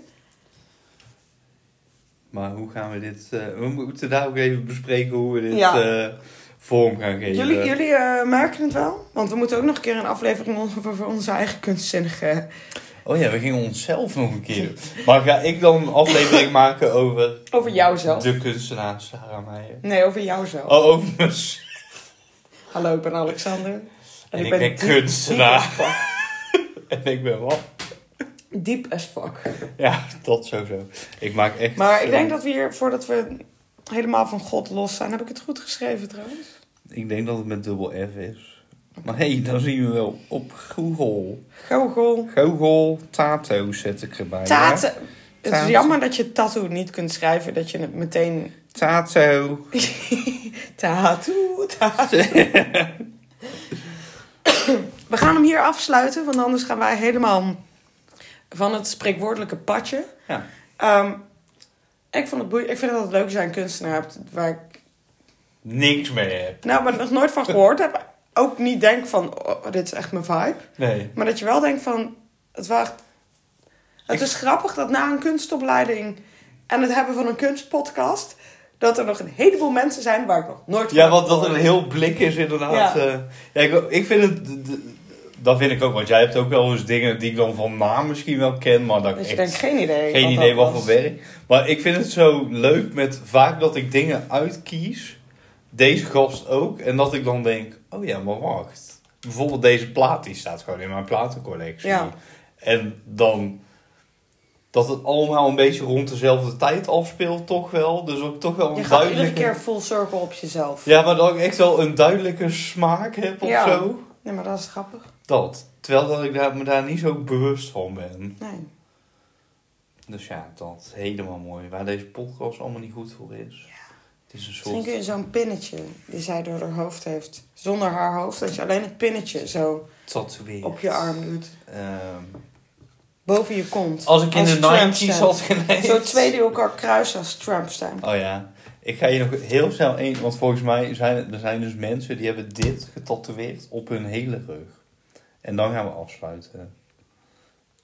Speaker 2: Maar hoe gaan we dit... eh, we moeten daar ook even bespreken hoe we dit
Speaker 1: Ja.
Speaker 2: eh, vorm gaan geven.
Speaker 1: Jullie, jullie eh, merken het wel, want we moeten ook nog een keer een aflevering over voor onze eigen kunstzinnige.
Speaker 2: Oh ja, we gingen onszelf nog een keer. Maar ga ik dan een aflevering maken over...
Speaker 1: Over jouzelf.
Speaker 2: De kunstenaar Sarah Meijer.
Speaker 1: Nee, over jouzelf.
Speaker 2: Oh, over mezelf.
Speaker 1: Hallo, ik ben Alexander. En,
Speaker 2: En ik ben
Speaker 1: diep-
Speaker 2: kunstenaar.
Speaker 1: diep as fuck.
Speaker 2: En ik ben wat?
Speaker 1: Diep as fuck.
Speaker 2: Ja, dat sowieso. Ik maak echt...
Speaker 1: Maar ik
Speaker 2: eh,
Speaker 1: denk dat we hier, voordat we helemaal van God los zijn, heb ik het goed geschreven trouwens.
Speaker 2: Ik denk dat het met dubbel F is. Maar hé, hey, dan zien we wel op Google.
Speaker 1: Gogol.
Speaker 2: Google Tato zet ik erbij. hè?
Speaker 1: Tato. Het is
Speaker 2: Taat.
Speaker 1: jammer dat je tattoo niet kunt schrijven, dat je het meteen
Speaker 2: Tato.
Speaker 1: tattoo, tattoo. We gaan hem hier afsluiten, want anders gaan wij helemaal van het spreekwoordelijke padje.
Speaker 2: Ja.
Speaker 1: Ehm, ik, vond het boei- ik vind het altijd leuk als jij een kunstenaar hebt waar ik
Speaker 2: Niks meer heb.
Speaker 1: nou, maar nog nooit van gehoord heb. Ook niet denk van, oh, dit is echt mijn vibe.
Speaker 2: Nee.
Speaker 1: Maar dat je wel denkt van, het was... Het is grappig dat na een kunstopleiding en het hebben van een kunstpodcast... dat er nog een heleboel mensen zijn waar ik nog nooit van
Speaker 2: Ja,
Speaker 1: heb
Speaker 2: want dat er
Speaker 1: gehoord.
Speaker 2: een heel blik is
Speaker 1: Ja.
Speaker 2: inderdaad. Eh, Ja. ik, ik vind het... d- d- Dat vind ik ook, want jij hebt ook wel eens dingen die ik dan van naam misschien wel ken, maar dat ik
Speaker 1: Dat Dus je
Speaker 2: echt
Speaker 1: denkt, geen idee.
Speaker 2: geen
Speaker 1: wat
Speaker 2: idee
Speaker 1: dat
Speaker 2: wat
Speaker 1: was.
Speaker 2: voor werk. Maar ik vind het zo leuk met vaak dat ik dingen uitkies deze gast ook. En dat ik dan denk, oh ja, maar wacht. Bijvoorbeeld deze plaat, die staat gewoon in mijn platencollectie.
Speaker 1: Ja.
Speaker 2: En dan dat het allemaal een beetje rond dezelfde tijd afspeelt, toch wel. Dus ook toch wel
Speaker 1: Je
Speaker 2: een
Speaker 1: gaat iedere
Speaker 2: duidelijke...
Speaker 1: keer full circle op jezelf.
Speaker 2: Ja, maar dat ik echt wel een duidelijke smaak heb of
Speaker 1: Ja.
Speaker 2: zo.
Speaker 1: Nee, maar dat is grappig.
Speaker 2: Dat. Terwijl dat ik daar, me daar niet zo bewust van ben.
Speaker 1: Nee.
Speaker 2: Dus ja, dat is helemaal mooi. Waar deze podcast allemaal niet goed voor is. Het is een
Speaker 1: Misschien
Speaker 2: soort...
Speaker 1: kun je zo'n pinnetje die zij door haar hoofd heeft, zonder haar hoofd, dat je alleen het pinnetje zo
Speaker 2: tatoeëer.
Speaker 1: op je arm doet.
Speaker 2: Ehm,
Speaker 1: Boven je kont.
Speaker 2: als ik in de
Speaker 1: Trump
Speaker 2: 90's
Speaker 1: stem.
Speaker 2: had geleefd.
Speaker 1: Zo twee die elkaar kruisen als Trump staan.
Speaker 2: Oh ja. Ik ga hier nog heel snel één, want volgens mij zijn er zijn dus mensen die hebben dit getatoeëerd op hun hele rug. En dan gaan we afsluiten.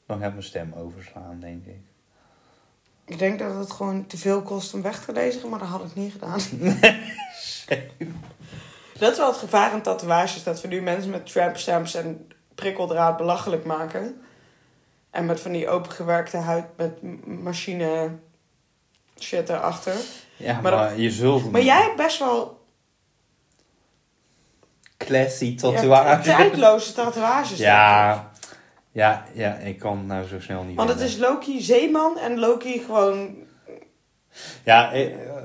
Speaker 2: Dan gaat mijn stem overslaan, denk ik.
Speaker 1: Ik denk dat het gewoon te veel kost om weg te lezen, maar dat had ik niet gedaan. dat is wel het gevaar aan tatoeages, dat we nu mensen met tramp stamps en prikkeldraad belachelijk maken. En met van die opengewerkte huid met m- machine shit erachter.
Speaker 2: Ja, maar,
Speaker 1: Maar dat-
Speaker 2: je zult...
Speaker 1: Maar jij hebt best wel
Speaker 2: Classy
Speaker 1: ja,
Speaker 2: tatoeage.
Speaker 1: tijdloze tatoeages.
Speaker 2: Ja, ja, ja, ik kan nou zo snel niet
Speaker 1: Want het
Speaker 2: wennen.
Speaker 1: is Loki zeeman en Loki gewoon...
Speaker 2: Ja, ik, eh,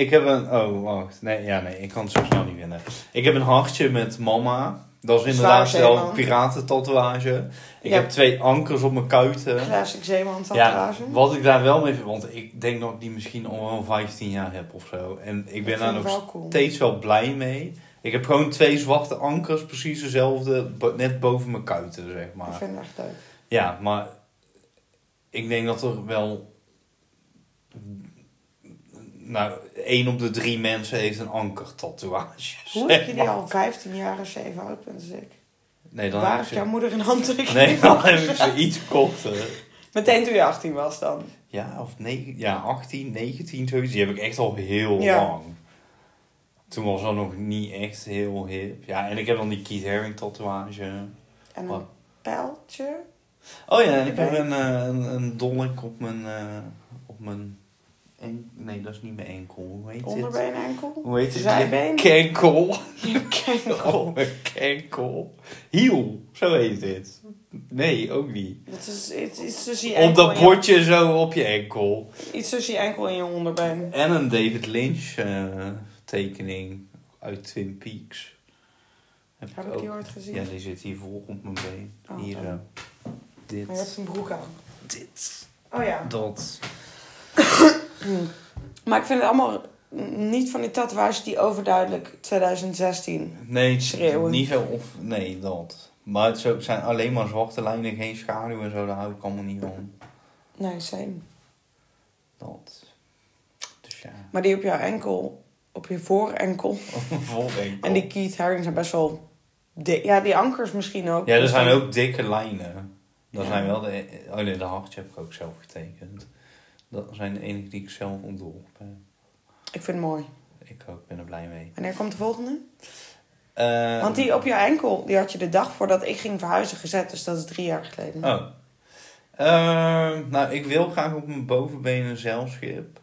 Speaker 2: ik heb een... Oh, wacht. Nee, ja, nee, ik kan het zo snel niet winnen. Ik heb een hartje met mama. Dat is inderdaad
Speaker 1: Zwaar,
Speaker 2: wel
Speaker 1: helemaal.
Speaker 2: een piratentatoeage. Ik
Speaker 1: Ja.
Speaker 2: heb twee ankers op mijn kuiten.
Speaker 1: Classic zeeman
Speaker 2: Ja,
Speaker 1: tatoeage.
Speaker 2: wat ik daar wel mee vind, want ik denk dat ik die misschien al wel 15 jaar heb of zo. En ik ben
Speaker 1: vind
Speaker 2: daar
Speaker 1: ik
Speaker 2: nog
Speaker 1: wel cool.
Speaker 2: steeds wel blij mee. Ik heb gewoon twee zwarte ankers, precies dezelfde, bo- net boven mijn kuiten, zeg maar.
Speaker 1: Ik vind het echt leuk.
Speaker 2: Ja, maar ik denk dat er wel. Nou, één op de drie mensen heeft een ankertatoeage.
Speaker 1: Hoe heb je die al 15 jaar als je even oud bent als ik?
Speaker 2: Nee, dan
Speaker 1: Waar
Speaker 2: heb
Speaker 1: heeft
Speaker 2: ik
Speaker 1: jouw
Speaker 2: ze,
Speaker 1: moeder een handtekening
Speaker 2: nee,
Speaker 1: van
Speaker 2: dan heb ik
Speaker 1: gezet?
Speaker 2: ze iets korter.
Speaker 1: Meteen toen je 18 was dan.
Speaker 2: Ja, of negen, ja, 18, 19, zoiets. Die heb ik echt al heel
Speaker 1: Ja.
Speaker 2: lang. Toen was dat nog niet echt heel hip. Ja, en ik heb dan die Keith Haring tatoeage.
Speaker 1: En een
Speaker 2: Wat?
Speaker 1: pijltje.
Speaker 2: Oh ja, en ik heb
Speaker 1: Erbij.
Speaker 2: een, eh, een, een dolk op mijn... eh, op mijn en, nee, dat is niet mijn enkel. Hoe heet het?
Speaker 1: Onderbeen, enkel.
Speaker 2: Hoe heet het?
Speaker 1: Zijbeen.
Speaker 2: Kenkel.
Speaker 1: Je kenkel.
Speaker 2: Oh, mijn kenkel. Hiel, zo heet dit. Nee, ook niet.
Speaker 1: Dat is iets, iets tussen je
Speaker 2: Op
Speaker 1: enkel.
Speaker 2: dat
Speaker 1: en je-
Speaker 2: bordje zo op je enkel.
Speaker 1: Iets tussen je enkel en je onderbeen.
Speaker 2: En een David Lynch eh, tekening uit Twin Peaks. Heb,
Speaker 1: Heb ik
Speaker 2: ook.
Speaker 1: die ooit gezien?
Speaker 2: Oh. Ja, die zit hier vol op mijn been.
Speaker 1: Oh,
Speaker 2: hier
Speaker 1: dan.
Speaker 2: zo.
Speaker 1: Maar je hebt
Speaker 2: Dit.
Speaker 1: een broek aan.
Speaker 2: Dit.
Speaker 1: Oh ja.
Speaker 2: Dat.
Speaker 1: Maar ik vind het allemaal niet van die tatoeages die overduidelijk 2016.
Speaker 2: Nee,
Speaker 1: Schreeuwen.
Speaker 2: niet zo of... Nee, dat. Maar het zo- het zijn alleen maar zwarte lijnen, geen schaduw en zo. Daar hou ik allemaal niet van.
Speaker 1: Nee, same.
Speaker 2: Dat. Dus ja.
Speaker 1: Maar die op jouw enkel, op je voorenkel.
Speaker 2: Vol enkel.
Speaker 1: En die Keith Haring zijn best wel... dik. Ja, die ankers misschien ook. Dus
Speaker 2: Ja, er zijn ook dikke lijnen. Dat
Speaker 1: Ja.
Speaker 2: zijn wel de... Oh nee, de hartje heb ik ook zelf getekend. Dat zijn de enige die ik zelf ontworpen heb.
Speaker 1: Ik vind het mooi.
Speaker 2: Ik ook, ben er blij mee.
Speaker 1: Wanneer komt de volgende?
Speaker 2: Eh,
Speaker 1: Want die op je enkel, die had je de dag voordat ik ging verhuizen gezet. Dus dat is drie jaar geleden.
Speaker 2: Oh. Eh, nou, ik wil graag op mijn bovenbeen een zeilschip.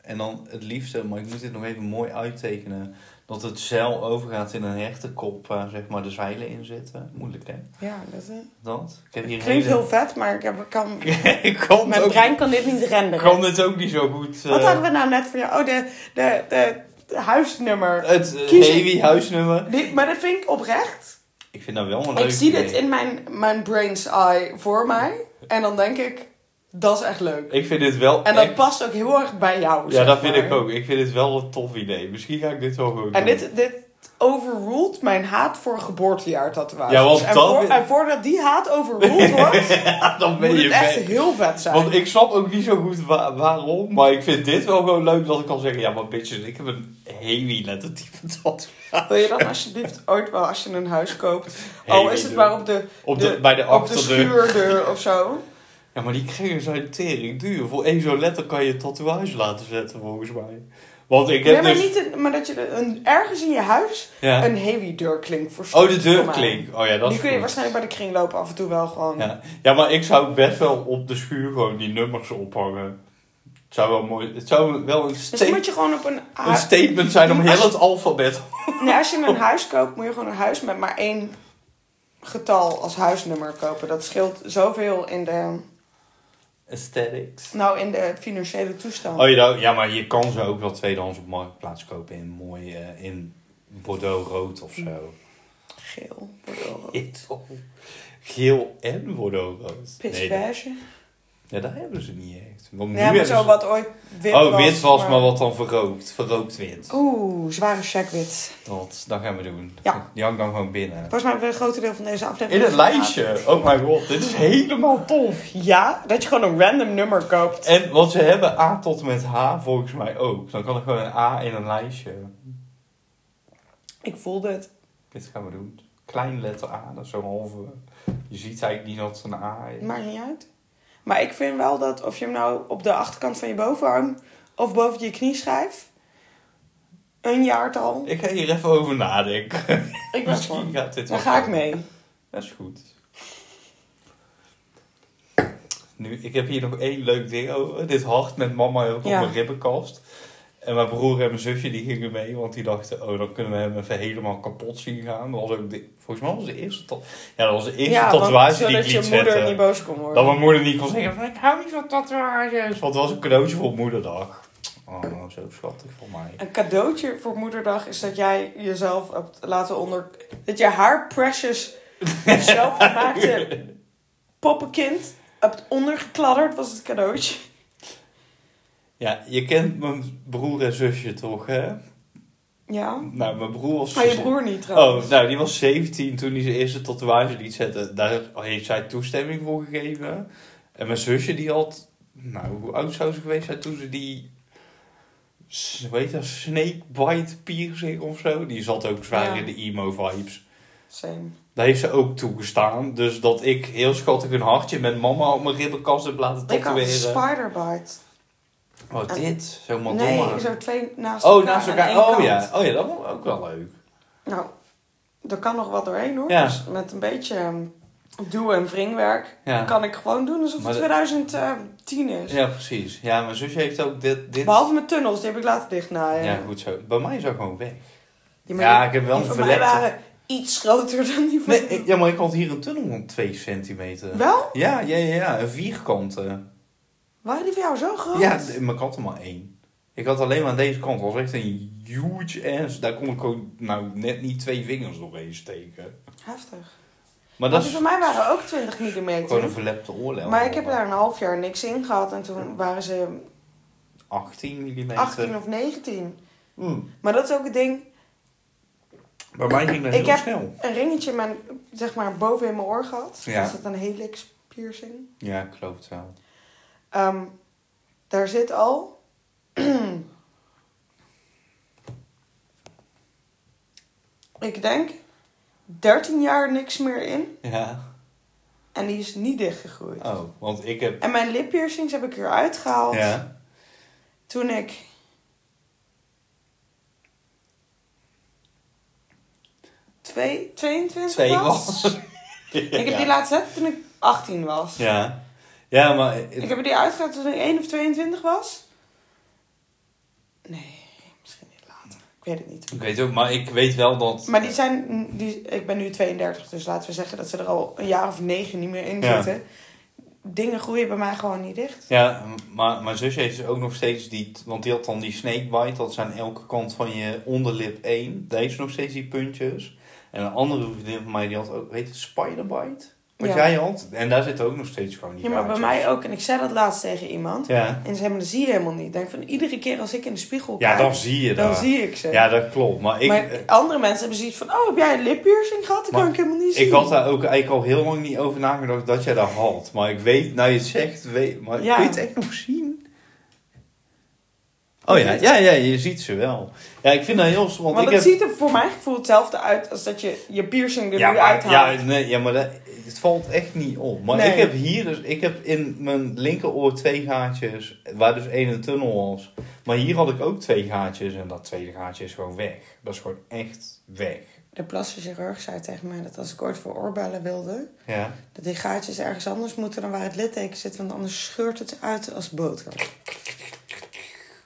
Speaker 2: En dan het liefste, maar ik moet dit nog even mooi uittekenen... dat het zeil overgaat in een hechte kop waar zeg maar de zeilen in zitten. Moeilijk, hè?
Speaker 1: Ja, dat eh,
Speaker 2: Dat. Ik heb hier
Speaker 1: klinkt
Speaker 2: hele-
Speaker 1: heel vet, maar ik heb, ik kan,
Speaker 2: ik kan het
Speaker 1: mijn
Speaker 2: ook,
Speaker 1: brein kan dit niet
Speaker 2: ik
Speaker 1: renderen.
Speaker 2: kan het ook niet zo goed...
Speaker 1: Wat
Speaker 2: eh,
Speaker 1: hadden we nou net voor jou? Oh, de, de, de, de huisnummer.
Speaker 2: Het eh,
Speaker 1: Kies-
Speaker 2: Heavy huisnummer.
Speaker 1: Die- maar dat vind ik oprecht.
Speaker 2: Ik vind dat wel een leuk
Speaker 1: Ik zie
Speaker 2: idee.
Speaker 1: dit in mijn, mijn brain's eye voor mij. En dan denk ik, dat is echt leuk.
Speaker 2: Ik vind dit wel
Speaker 1: En dat
Speaker 2: echt-
Speaker 1: past ook heel erg bij jou.
Speaker 2: Ja,
Speaker 1: zeg
Speaker 2: dat vind
Speaker 1: maar.
Speaker 2: ik ook. Ik vind dit wel een tof idee. Misschien ga ik dit wel gewoon
Speaker 1: En
Speaker 2: doen.
Speaker 1: dit, dit overruled mijn haat voor geboortejaar tatoeages.
Speaker 2: Ja, want
Speaker 1: en,
Speaker 2: dat-
Speaker 1: voor, en voordat die haat overruled wordt,
Speaker 2: Ja, dan ben
Speaker 1: moet
Speaker 2: je
Speaker 1: het echt
Speaker 2: weg.
Speaker 1: heel vet zijn.
Speaker 2: Want ik snap ook niet zo goed wa- waarom. Maar ik vind dit wel gewoon leuk dat ik kan zeggen... Ja, maar bitches, ik heb een heavy lettertype dat.
Speaker 1: Wil je dan alsjeblieft ooit wel, als je een huis koopt...
Speaker 2: Hey,
Speaker 1: al is het
Speaker 2: doen.
Speaker 1: maar op de,
Speaker 2: Op de, bij de
Speaker 1: op de
Speaker 2: achterdeur.
Speaker 1: schuurdeur of zo.
Speaker 2: ja, maar die kregen zijn tering duur. Voor één zo'n letter kan je een tatoeage laten zetten, volgens mij. Want ik
Speaker 1: Nee,
Speaker 2: heb
Speaker 1: maar,
Speaker 2: dus...
Speaker 1: niet een, maar dat je er een, ergens in je huis
Speaker 2: Ja.
Speaker 1: een heavy deurklink voor
Speaker 2: Oh,
Speaker 1: stopt,
Speaker 2: de
Speaker 1: voor mij.
Speaker 2: deurklink. Oh ja,
Speaker 1: Die
Speaker 2: dat is
Speaker 1: kun je
Speaker 2: goed.
Speaker 1: waarschijnlijk bij de kringloop af en toe wel gewoon...
Speaker 2: Ja. ja, maar ik zou best wel op de schuur gewoon die nummers ophangen. Het zou wel mooi... Het zou wel een,
Speaker 1: Dus
Speaker 2: sta-
Speaker 1: dan moet je gewoon op een...
Speaker 2: een statement zijn om heel het alfabet.
Speaker 1: Nee, als je een huis koopt, moet je gewoon een huis met maar één getal als huisnummer kopen. Dat scheelt zoveel in de,
Speaker 2: Aesthetics.
Speaker 1: nou, in de financiële toestand.
Speaker 2: Oh, je dacht- ja, maar je kan ze ook wel tweedehands op marktplaats kopen in mooi eh, in Bordeaux rood of zo.
Speaker 1: Geel, bordeaux,
Speaker 2: Geel en Bordeaux rood. Nee, dat,
Speaker 1: pisbeige.
Speaker 2: ja, dat hebben ze niet echt. Want nu
Speaker 1: Nee, maar
Speaker 2: hebben
Speaker 1: zo
Speaker 2: ze-
Speaker 1: wat ooit wit
Speaker 2: oh,
Speaker 1: was.
Speaker 2: wit was, maar... wat dan verrookt. Verrookt wit.
Speaker 1: Oeh, zware checkwit.
Speaker 2: Dat, dat gaan we doen.
Speaker 1: Ja.
Speaker 2: Die hangt dan gewoon binnen.
Speaker 1: Volgens mij hebben we een groot deel van deze aflevering...
Speaker 2: In het lijstje. Oh mijn god, dit is helemaal tof.
Speaker 1: Ja, dat je gewoon een random nummer koopt.
Speaker 2: En wat ze hebben, A tot en met H, volgens mij ook. Dan kan er gewoon een A in een lijstje.
Speaker 1: Ik voelde het.
Speaker 2: Dit gaan we doen. Klein letter A, dat is zo'n halve. Je ziet eigenlijk niet dat het een A is.
Speaker 1: Maakt niet uit. Maar ik vind wel dat of je hem nou op de achterkant van je bovenarm of boven je knie schrijft, een jaartal.
Speaker 2: Ik ga hier even over nadenken.
Speaker 1: Ik ben
Speaker 2: Misschien
Speaker 1: gewoon.
Speaker 2: gaat dit
Speaker 1: Daar
Speaker 2: wel
Speaker 1: ga ik
Speaker 2: komen.
Speaker 1: mee.
Speaker 2: Dat is goed. Nu, ik heb hier nog één leuk ding over. Dit hart met mama ook
Speaker 1: Ja.
Speaker 2: op mijn ribbenkast. En mijn broer en mijn zusje die gingen mee, want die dachten, oh, dan kunnen we hem even helemaal kapot zien gaan. Dat was ook de, volgens mij was de eerste, ta- ja, dat was de eerste tatoeage die ik
Speaker 1: zodat
Speaker 2: liet
Speaker 1: je moeder
Speaker 2: zetten.
Speaker 1: niet boos kon worden.
Speaker 2: Dat mijn moeder niet kon zeggen van ik hou niet van tatoeages. Want het was een cadeautje voor moederdag. Oh, zo schattig voor mij.
Speaker 1: Een cadeautje voor moederdag is dat jij jezelf hebt laten onder... Dat je haar precious zelfgemaakte poppenkind hebt ondergekladderd, was het cadeautje.
Speaker 2: Ja, je kent mijn broer en zusje toch, hè?
Speaker 1: Ja.
Speaker 2: Nou, mijn broer was...
Speaker 1: Maar je broer niet trouwens.
Speaker 2: Oh, nou, die was 17 toen hij zijn eerste tatoeage liet zetten. Daar heeft zij toestemming voor gegeven. En mijn zusje die had... Nou, hoe oud zou ze geweest zijn toen ze die... s- Hoe heet dat? Snakebite piercing of zo? Die zat ook zwaar
Speaker 1: Ja.
Speaker 2: in de emo-vibes.
Speaker 1: Same.
Speaker 2: Daar heeft ze ook toegestaan. Dus dat ik heel schattig een hartje met mama op mijn ribbenkast heb laten
Speaker 1: Ik had een
Speaker 2: tatoeëren.
Speaker 1: spiderbite.
Speaker 2: Oh, dit? Zo'n Madonna.
Speaker 1: Nee, zo twee naast elkaar.
Speaker 2: oh, naast
Speaker 1: aan
Speaker 2: elkaar.
Speaker 1: één
Speaker 2: Oh
Speaker 1: kant.
Speaker 2: ja. oh ja, dat was ook wel leuk.
Speaker 1: Nou, er kan nog wat doorheen hoor.
Speaker 2: Ja.
Speaker 1: Dus met een beetje ehm, duwen en wringwerk
Speaker 2: Ja.
Speaker 1: kan ik gewoon doen alsof
Speaker 2: Maar
Speaker 1: het
Speaker 2: dat-
Speaker 1: 2010 is.
Speaker 2: Ja, precies. Ja, mijn zusje heeft ook dit. dit...
Speaker 1: Behalve mijn tunnels, die heb ik laten dichtnaaien.
Speaker 2: Ja, goed zo. Bij mij is dat gewoon weg.
Speaker 1: Die maar
Speaker 2: Ja,
Speaker 1: die-
Speaker 2: ik heb wel
Speaker 1: die
Speaker 2: een
Speaker 1: van mij
Speaker 2: verlepte.
Speaker 1: waren iets groter dan die van
Speaker 2: Nee, ik- ja, maar ik had hier een tunnel van 2 centimeter.
Speaker 1: Wel?
Speaker 2: Ja, ja, ja, ja. Een vierkante.
Speaker 1: Waren die van jou zo groot?
Speaker 2: Ja, d- mijn kat er maar één. Ik had alleen maar aan deze kant. Dat was echt een huge ass. Daar kon ik gewoon nou, net niet twee vingers doorheen steken.
Speaker 1: Heftig.
Speaker 2: Maar
Speaker 1: Want
Speaker 2: dat
Speaker 1: die
Speaker 2: is
Speaker 1: van mij waren ook 20
Speaker 2: Gewoon een
Speaker 1: mm.
Speaker 2: verlepte oorlel.
Speaker 1: Maar ik heb daar een half jaar niks in gehad en toen waren ze
Speaker 2: 18 mm.
Speaker 1: 18 of 19. Maar dat is ook het ding,
Speaker 2: Hmm. Bij mij ging dat
Speaker 1: Ik
Speaker 2: heel
Speaker 1: heb-
Speaker 2: snel.
Speaker 1: een ringetje in mijn, zeg maar, boven in mijn oor gehad.
Speaker 2: Ja.
Speaker 1: Is dat een helix piercing?
Speaker 2: Ja, ik geloof het wel.
Speaker 1: Ehm, daar zit al. ik denk 13 jaar niks meer in.
Speaker 2: Ja.
Speaker 1: En die is niet dichtgegroeid.
Speaker 2: Oh, want ik heb...
Speaker 1: En mijn lippiercings heb ik eruit gehaald
Speaker 2: Ja.
Speaker 1: toen ik. Twee, 22
Speaker 2: Twee
Speaker 1: was.
Speaker 2: was.
Speaker 1: Ik heb die
Speaker 2: ja.
Speaker 1: laatst gezet toen ik 18 was.
Speaker 2: ja. Ja, maar... het-
Speaker 1: Ik heb die uitgehaald toen ik 1 of 22 was. Nee, misschien niet later. Ik weet het niet.
Speaker 2: Ik weet ook, maar ik weet wel dat...
Speaker 1: Maar die zijn, die, ik ben nu 32, dus laten we zeggen dat ze er al een jaar of negen niet meer in
Speaker 2: Ja.
Speaker 1: zitten. Dingen groeien bij mij gewoon niet dicht.
Speaker 2: Ja, maar mijn zusje heeft dus ook nog steeds die... Want die had dan die snakebite. Dat is aan elke kant van je onderlip één. Daar heeft ze nog steeds die puntjes. En een andere vriendin van mij, die had ook... Weet het? Spiderbite? Wat
Speaker 1: Ja.
Speaker 2: jij had. En daar zit ook nog steeds gewoon die
Speaker 1: Ja, maar bij
Speaker 2: gaatjes.
Speaker 1: mij ook. En ik zei dat laatst tegen iemand.
Speaker 2: Ja.
Speaker 1: En ze hebben dat zie je helemaal niet. Ik denk van iedere keer als ik in de spiegel
Speaker 2: Ja,
Speaker 1: kijk,
Speaker 2: dan zie je
Speaker 1: dan
Speaker 2: dat.
Speaker 1: zie ik ze.
Speaker 2: Ja, dat klopt. Maar ik, eh,
Speaker 1: maar andere mensen hebben zoiets van, oh, heb jij een lippiercing gehad? Dat
Speaker 2: Maar
Speaker 1: kan ik helemaal niet zien.
Speaker 2: ik had daar ook eigenlijk al heel lang niet over nagedacht dat jij dat had. Maar ik weet, nou je het zegt, weet, maar
Speaker 1: Ja.
Speaker 2: kun je het echt nog zien? Oh ja, ja, ja, je ziet ze wel. Ja, ik vind dat heel stom. Want
Speaker 1: Want
Speaker 2: ik
Speaker 1: het
Speaker 2: heb,
Speaker 1: ziet er voor mijn gevoel hetzelfde uit als dat je je piercing er
Speaker 2: ja,
Speaker 1: nu
Speaker 2: maar-
Speaker 1: uithaalt.
Speaker 2: Ja, nee, ja, maar dat, het valt echt niet op. Maar
Speaker 1: Nee.
Speaker 2: ik heb hier dus, ik heb in mijn linkeroor twee gaatjes, waar dus één een tunnel was. Maar hier had ik ook twee gaatjes en dat tweede gaatje is gewoon weg. Dat is gewoon echt weg.
Speaker 1: De plastische chirurg zei tegen mij dat als ik ooit voor oorbellen wilde,
Speaker 2: Ja.
Speaker 1: dat die gaatjes ergens anders moeten dan waar het litteken zit, want anders scheurt het uit als boter.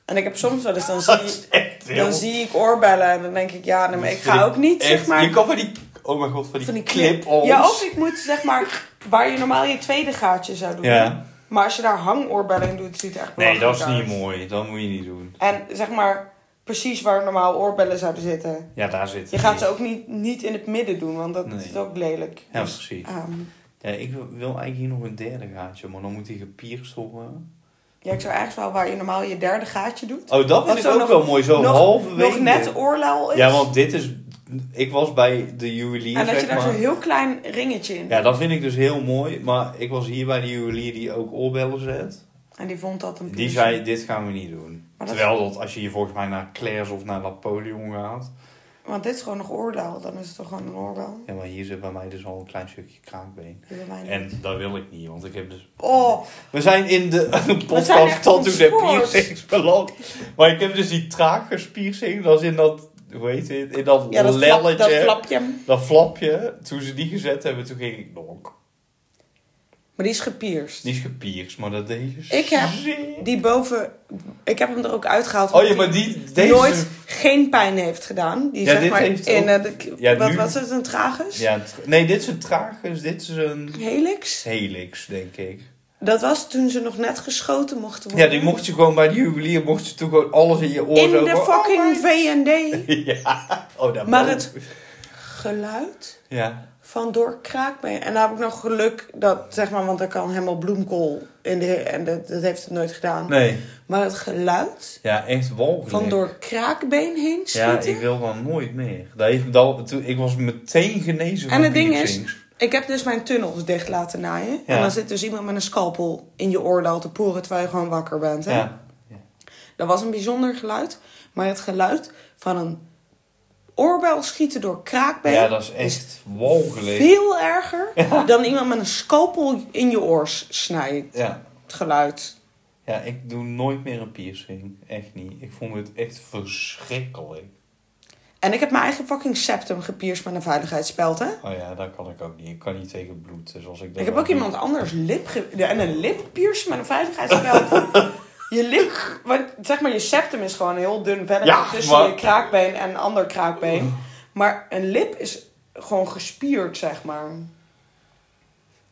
Speaker 1: En ik heb soms wel eens, dan
Speaker 2: Dat
Speaker 1: zie,
Speaker 2: is echt heel...
Speaker 1: dan zie ik oorbellen en dan denk ik, ja, nee, maar ik ga ook niet,
Speaker 2: Echt,
Speaker 1: zeg
Speaker 2: Je
Speaker 1: maar,
Speaker 2: kan van die... Oh mijn god, van die,
Speaker 1: van die clip.
Speaker 2: clip-ons.
Speaker 1: Ja, of ik moet, zeg maar, waar je normaal je tweede gaatje zou doen.
Speaker 2: Ja.
Speaker 1: Maar als je daar hangoorbellen in doet, ziet het echt
Speaker 2: Nee, dat is
Speaker 1: belachelijk
Speaker 2: niet mooi. Dat moet je niet doen.
Speaker 1: uit. En zeg maar, precies waar normaal oorbellen zouden zitten.
Speaker 2: Ja, daar zit
Speaker 1: Je gaat ze ook niet, niet in het midden doen, want dat
Speaker 2: Nee.
Speaker 1: is ook lelijk.
Speaker 2: Ja,
Speaker 1: Dus,
Speaker 2: precies.
Speaker 1: ehm,
Speaker 2: Ja, ik wil eigenlijk hier nog een derde gaatje, maar dan moet die gepierst worden.
Speaker 1: ja, ik zou ergens wel waar je normaal je derde gaatje doet.
Speaker 2: Oh, dat
Speaker 1: Wat
Speaker 2: vind ik
Speaker 1: zo
Speaker 2: ook
Speaker 1: nog-
Speaker 2: wel mooi. Zo
Speaker 1: nog-
Speaker 2: halverwege.
Speaker 1: Nog net oorlauw is.
Speaker 2: Ja, want dit is... Ik was bij de juwelier,
Speaker 1: en dat
Speaker 2: zeg
Speaker 1: je daar
Speaker 2: maar.
Speaker 1: zo'n heel klein ringetje in
Speaker 2: Ja, dat vind ik dus heel mooi. Maar ik was hier bij de juwelier die ook oorbellen zet.
Speaker 1: En die vond dat een
Speaker 2: Die
Speaker 1: piercing.
Speaker 2: zei, dit gaan we niet doen.
Speaker 1: Maar dat-
Speaker 2: Terwijl dat als je hier volgens mij naar Claire's of naar Napoleon gaat.
Speaker 1: Want dit is gewoon nog oorbel, dan is het toch gewoon een oorbel?
Speaker 2: Ja, maar hier zit bij mij dus al een klein stukje kraakbeen.
Speaker 1: Die bij mij niet.
Speaker 2: En dat wil ik niet, want ik heb dus...
Speaker 1: Oh,
Speaker 2: We zijn in de
Speaker 1: zijn
Speaker 2: podcast
Speaker 1: echt
Speaker 2: tattoos en
Speaker 1: ontspoord.
Speaker 2: piercings beland. Maar ik heb dus die traagerspiercing, dat is in dat... Hoe heet het? In dat
Speaker 1: ja, dat, flap-
Speaker 2: lelletje.
Speaker 1: dat flapje.
Speaker 2: dat flapje. Toen ze die gezet hebben, toen ging ik... Nok.
Speaker 1: Maar die is gepierst.
Speaker 2: Die is gepierst, maar dat deed je
Speaker 1: Ik heb
Speaker 2: zeer.
Speaker 1: Die boven, ik heb hem er ook uitgehaald.
Speaker 2: Oh ja,
Speaker 1: omdat
Speaker 2: maar
Speaker 1: die
Speaker 2: die... Deze...
Speaker 1: nooit geen pijn heeft gedaan. Die
Speaker 2: Ja,
Speaker 1: zeg
Speaker 2: dit
Speaker 1: maar
Speaker 2: heeft
Speaker 1: in,
Speaker 2: ook-
Speaker 1: eh, de-
Speaker 2: Ja,
Speaker 1: wat
Speaker 2: nu-
Speaker 1: was het, een tragus?
Speaker 2: Ja, het- nee, dit is een tragus, dit is een
Speaker 1: Helix.
Speaker 2: helix, denk ik.
Speaker 1: Dat was toen ze nog net geschoten mochten
Speaker 2: Ja,
Speaker 1: worden.
Speaker 2: die mocht je gewoon bij de juwelier, mocht je toen gewoon alles in je oor
Speaker 1: In
Speaker 2: zo
Speaker 1: de
Speaker 2: van-
Speaker 1: fucking V&D.
Speaker 2: Oh, Ja, oh, dat
Speaker 1: Maar
Speaker 2: mag.
Speaker 1: het geluid
Speaker 2: Ja,
Speaker 1: van door kraakbeen. En daar heb ik nog geluk dat, zeg maar, want daar kan helemaal bloemkool in de, en dat, dat heeft het nooit gedaan.
Speaker 2: nee.
Speaker 1: Maar het geluid
Speaker 2: Ja, echt walgelijk.
Speaker 1: van door kraakbeen heen
Speaker 2: Ja,
Speaker 1: schieten.
Speaker 2: ik
Speaker 1: ik...
Speaker 2: wil dan nooit meer. Dat heeft, dat, toen, ik was meteen genezen
Speaker 1: En
Speaker 2: van
Speaker 1: het ding is-
Speaker 2: piercings.
Speaker 1: heb dus mijn tunnels dicht laten naaien.
Speaker 2: Ja.
Speaker 1: En dan zit dus iemand met een scalpel in je oordeel te poeren terwijl je gewoon wakker bent. Hè?
Speaker 2: Ja.
Speaker 1: Dat was een bijzonder geluid. Maar het geluid van een oorbel schieten door kraakbeen
Speaker 2: ja, dat is echt walgelijk.
Speaker 1: veel erger dan iemand met een scalpel in je oor s- snijdt.
Speaker 2: Ja.
Speaker 1: Het geluid.
Speaker 2: ja, ik doe nooit meer een piercing. Echt niet. Ik vond het echt verschrikkelijk.
Speaker 1: En ik heb mijn eigen fucking septum gepierst met een veiligheidsspeld, hè?
Speaker 2: Oh ja, dat kan ik ook niet. Ik kan niet tegen bloed. Dus als ik, dat
Speaker 1: Ik heb
Speaker 2: dan
Speaker 1: ook
Speaker 2: doe-
Speaker 1: iemand anders lip ge- ja, en een lip piercen met een veiligheidsspeld. je lip, want zeg maar je septum is gewoon heel dun verder
Speaker 2: Ja,
Speaker 1: tussen
Speaker 2: maar- Oh.
Speaker 1: je kraakbeen en een ander kraakbeen. Maar een lip is gewoon gespierd, zeg maar.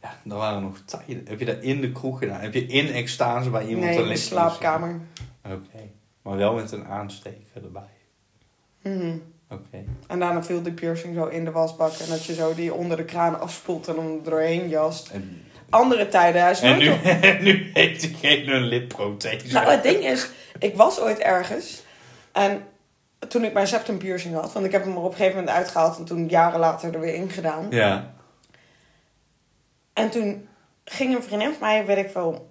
Speaker 2: Ja, dat waren nog tijden. Heb je dat in de kroeg gedaan? Heb je in extase bij iemand
Speaker 1: nee,
Speaker 2: een
Speaker 1: in de
Speaker 2: lip
Speaker 1: slaapkamer.
Speaker 2: gezien? Oké. Maar wel met een aansteker erbij.
Speaker 1: Mhm.
Speaker 2: Oké.
Speaker 1: En daarna viel de piercing zo in de wasbak en dat je zo die onder de kraan afspoelt en om er doorheen jast.
Speaker 2: En,
Speaker 1: Andere tijden, hij is
Speaker 2: en,
Speaker 1: nooit
Speaker 2: nu,
Speaker 1: op-
Speaker 2: en nu heeft diegene een lipprothese.
Speaker 1: Nou, het ding is, ik was ooit ergens en toen ik mijn septum piercing had, want ik heb hem er op een gegeven moment uitgehaald en toen jaren later er weer ingedaan.
Speaker 2: Ja.
Speaker 1: En toen ging een vriendin van mij, weet ik veel,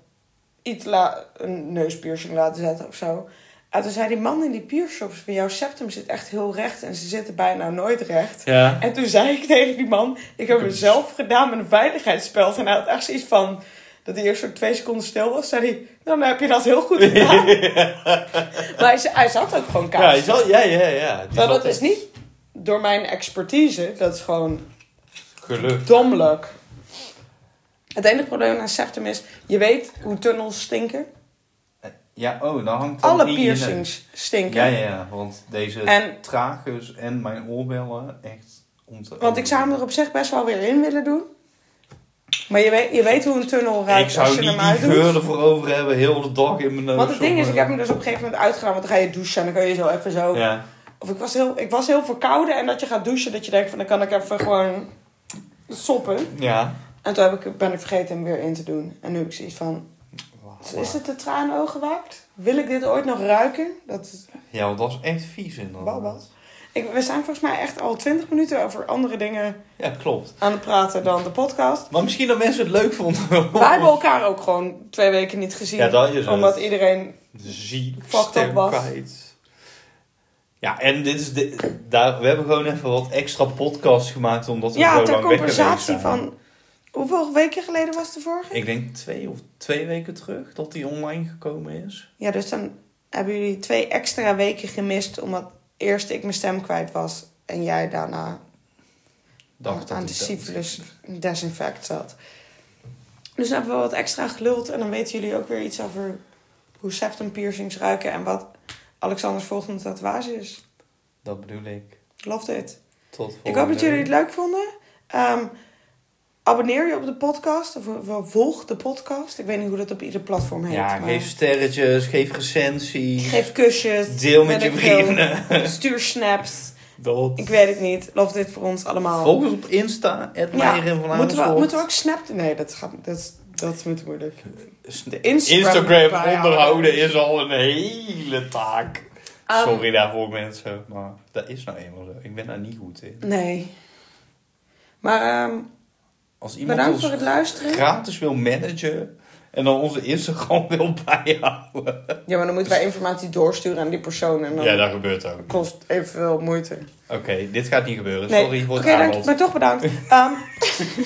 Speaker 1: iets la een neuspiercing laten zetten of zo. En toen zei die man in die piershops van jouw septum zit echt heel recht en ze zitten bijna nooit recht.
Speaker 2: Ja.
Speaker 1: En toen zei ik tegen die man, ik heb het zelf gedaan met een veiligheidsspeld. En hij had echt zoiets van, dat hij eerst zo twee seconden stil was. zei hij, nou, dan heb je dat heel goed gedaan. maar hij, z- hij zat ook gewoon
Speaker 2: Ja, je
Speaker 1: kaas.
Speaker 2: zal, ja, ja, ja. Die
Speaker 1: Maar Nou,
Speaker 2: zat
Speaker 1: dat is niet door mijn expertise, dat is gewoon
Speaker 2: Geluk.
Speaker 1: domlijk. Het enige probleem aan septum is, je weet hoe tunnels stinken.
Speaker 2: Ja, oh, dan hangt dan
Speaker 1: Alle
Speaker 2: in je neus.
Speaker 1: piercings stinken.
Speaker 2: Ja, ja, ja. Want deze
Speaker 1: En-
Speaker 2: tragus en mijn oorbellen echt om te...
Speaker 1: Want ik zou hem er op zich best wel weer in willen doen. Maar je weet, je weet hoe een tunnel ruikt
Speaker 2: Ik
Speaker 1: als
Speaker 2: zou
Speaker 1: je hem
Speaker 2: niet
Speaker 1: uitdoet.
Speaker 2: die geur ervoor over hebben, heel de dag in mijn neus.
Speaker 1: Want het ding
Speaker 2: of,
Speaker 1: is, ik
Speaker 2: eh,
Speaker 1: heb hem dus op een gegeven moment uitgedaan. Want dan ga je douchen en dan kun je zo even zo.
Speaker 2: Ja.
Speaker 1: Of ik was, heel, ik was heel verkouden en dat je gaat douchen. Dat je denkt van dan kan ik even gewoon soppen.
Speaker 2: Ja.
Speaker 1: En toen heb ik, ben ik vergeten hem weer in te doen. En nu heb ik zoiets van, is het de traanogen waard? Wil ik dit ooit nog ruiken? Dat is-
Speaker 2: Ja, want dat is echt vies eh, inderdaad.
Speaker 1: Babbels. ik, we zijn volgens mij echt al twintig minuten over andere dingen
Speaker 2: Ja, klopt.
Speaker 1: aan het praten dan de podcast.
Speaker 2: Maar misschien dat mensen het leuk vonden.
Speaker 1: Wij hebben elkaar ook gewoon twee weken niet gezien.
Speaker 2: Ja, dat is het.
Speaker 1: omdat iedereen...
Speaker 2: Ziek,
Speaker 1: Fucked up was.
Speaker 2: stemkwijt. Ja, en dit is de, daar, we hebben gewoon even wat extra podcasts gemaakt omdat we
Speaker 1: Ja,
Speaker 2: zo
Speaker 1: ter
Speaker 2: lang weg geweest
Speaker 1: compensatie
Speaker 2: zijn.
Speaker 1: van... Hoeveel weken geleden was de vorige?
Speaker 2: Ik denk twee of twee weken terug dat die online gekomen is.
Speaker 1: Ja, dus dan hebben jullie twee extra weken gemist. Omdat eerst ik mijn stem kwijt was. En jij daarna
Speaker 2: Dacht
Speaker 1: Oh, aan de
Speaker 2: dat ik dat-
Speaker 1: syphilis desinfect zat. Dus dan hebben we wat extra geluld. En dan weten jullie ook weer iets over hoe septum piercings ruiken. En wat Alexanders volgende tatoeage is.
Speaker 2: Dat bedoel ik.
Speaker 1: Love it.
Speaker 2: Tot volgende
Speaker 1: Ik hoop dat jullie het leuk vonden. Ehm, abonneer je op de podcast. Of, of volg de podcast. Ik weet niet hoe dat op ieder platform heet.
Speaker 2: Ja,
Speaker 1: maar-
Speaker 2: geef sterretjes, geef recensies.
Speaker 1: Geef kusjes.
Speaker 2: Deel met
Speaker 1: weet
Speaker 2: je
Speaker 1: ik veel.
Speaker 2: vrienden.
Speaker 1: Stuur snaps.
Speaker 2: Dat.
Speaker 1: Ik weet het niet. Love dit voor ons allemaal.
Speaker 2: Volg ons op Insta, het
Speaker 1: Ja,
Speaker 2: Meijer van
Speaker 1: moeten, we,
Speaker 2: Amersfoort.
Speaker 1: moeten we ook snap... Nee, dat, gaat, dat, is- dat is me te moeilijk.
Speaker 2: De
Speaker 1: Instagram-
Speaker 2: Instagram onderhouden is al een hele taak.
Speaker 1: Ehm,
Speaker 2: Sorry daarvoor mensen, maar dat is nou eenmaal zo. Ik ben daar niet goed in.
Speaker 1: Nee. Maar ehm,
Speaker 2: Als iemand
Speaker 1: bedankt
Speaker 2: ons
Speaker 1: voor het luisteren.
Speaker 2: gratis wil managen en dan onze Instagram wil bijhouden.
Speaker 1: Ja, maar dan moeten wij informatie doorsturen aan die persoon. En dan
Speaker 2: Ja, dat gebeurt ook. Oké,
Speaker 1: kost evenveel moeite.
Speaker 2: dit gaat niet gebeuren.
Speaker 1: Nee.
Speaker 2: Sorry voor het
Speaker 1: Oké, dank-
Speaker 2: aanbod.
Speaker 1: maar toch bedankt. Ehm,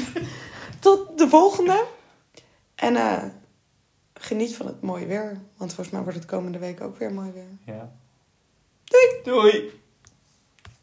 Speaker 1: tot de volgende. En eh, geniet van het mooie weer. Want volgens mij wordt het komende week ook weer mooi weer.
Speaker 2: Ja.
Speaker 1: Doei!
Speaker 2: Doei!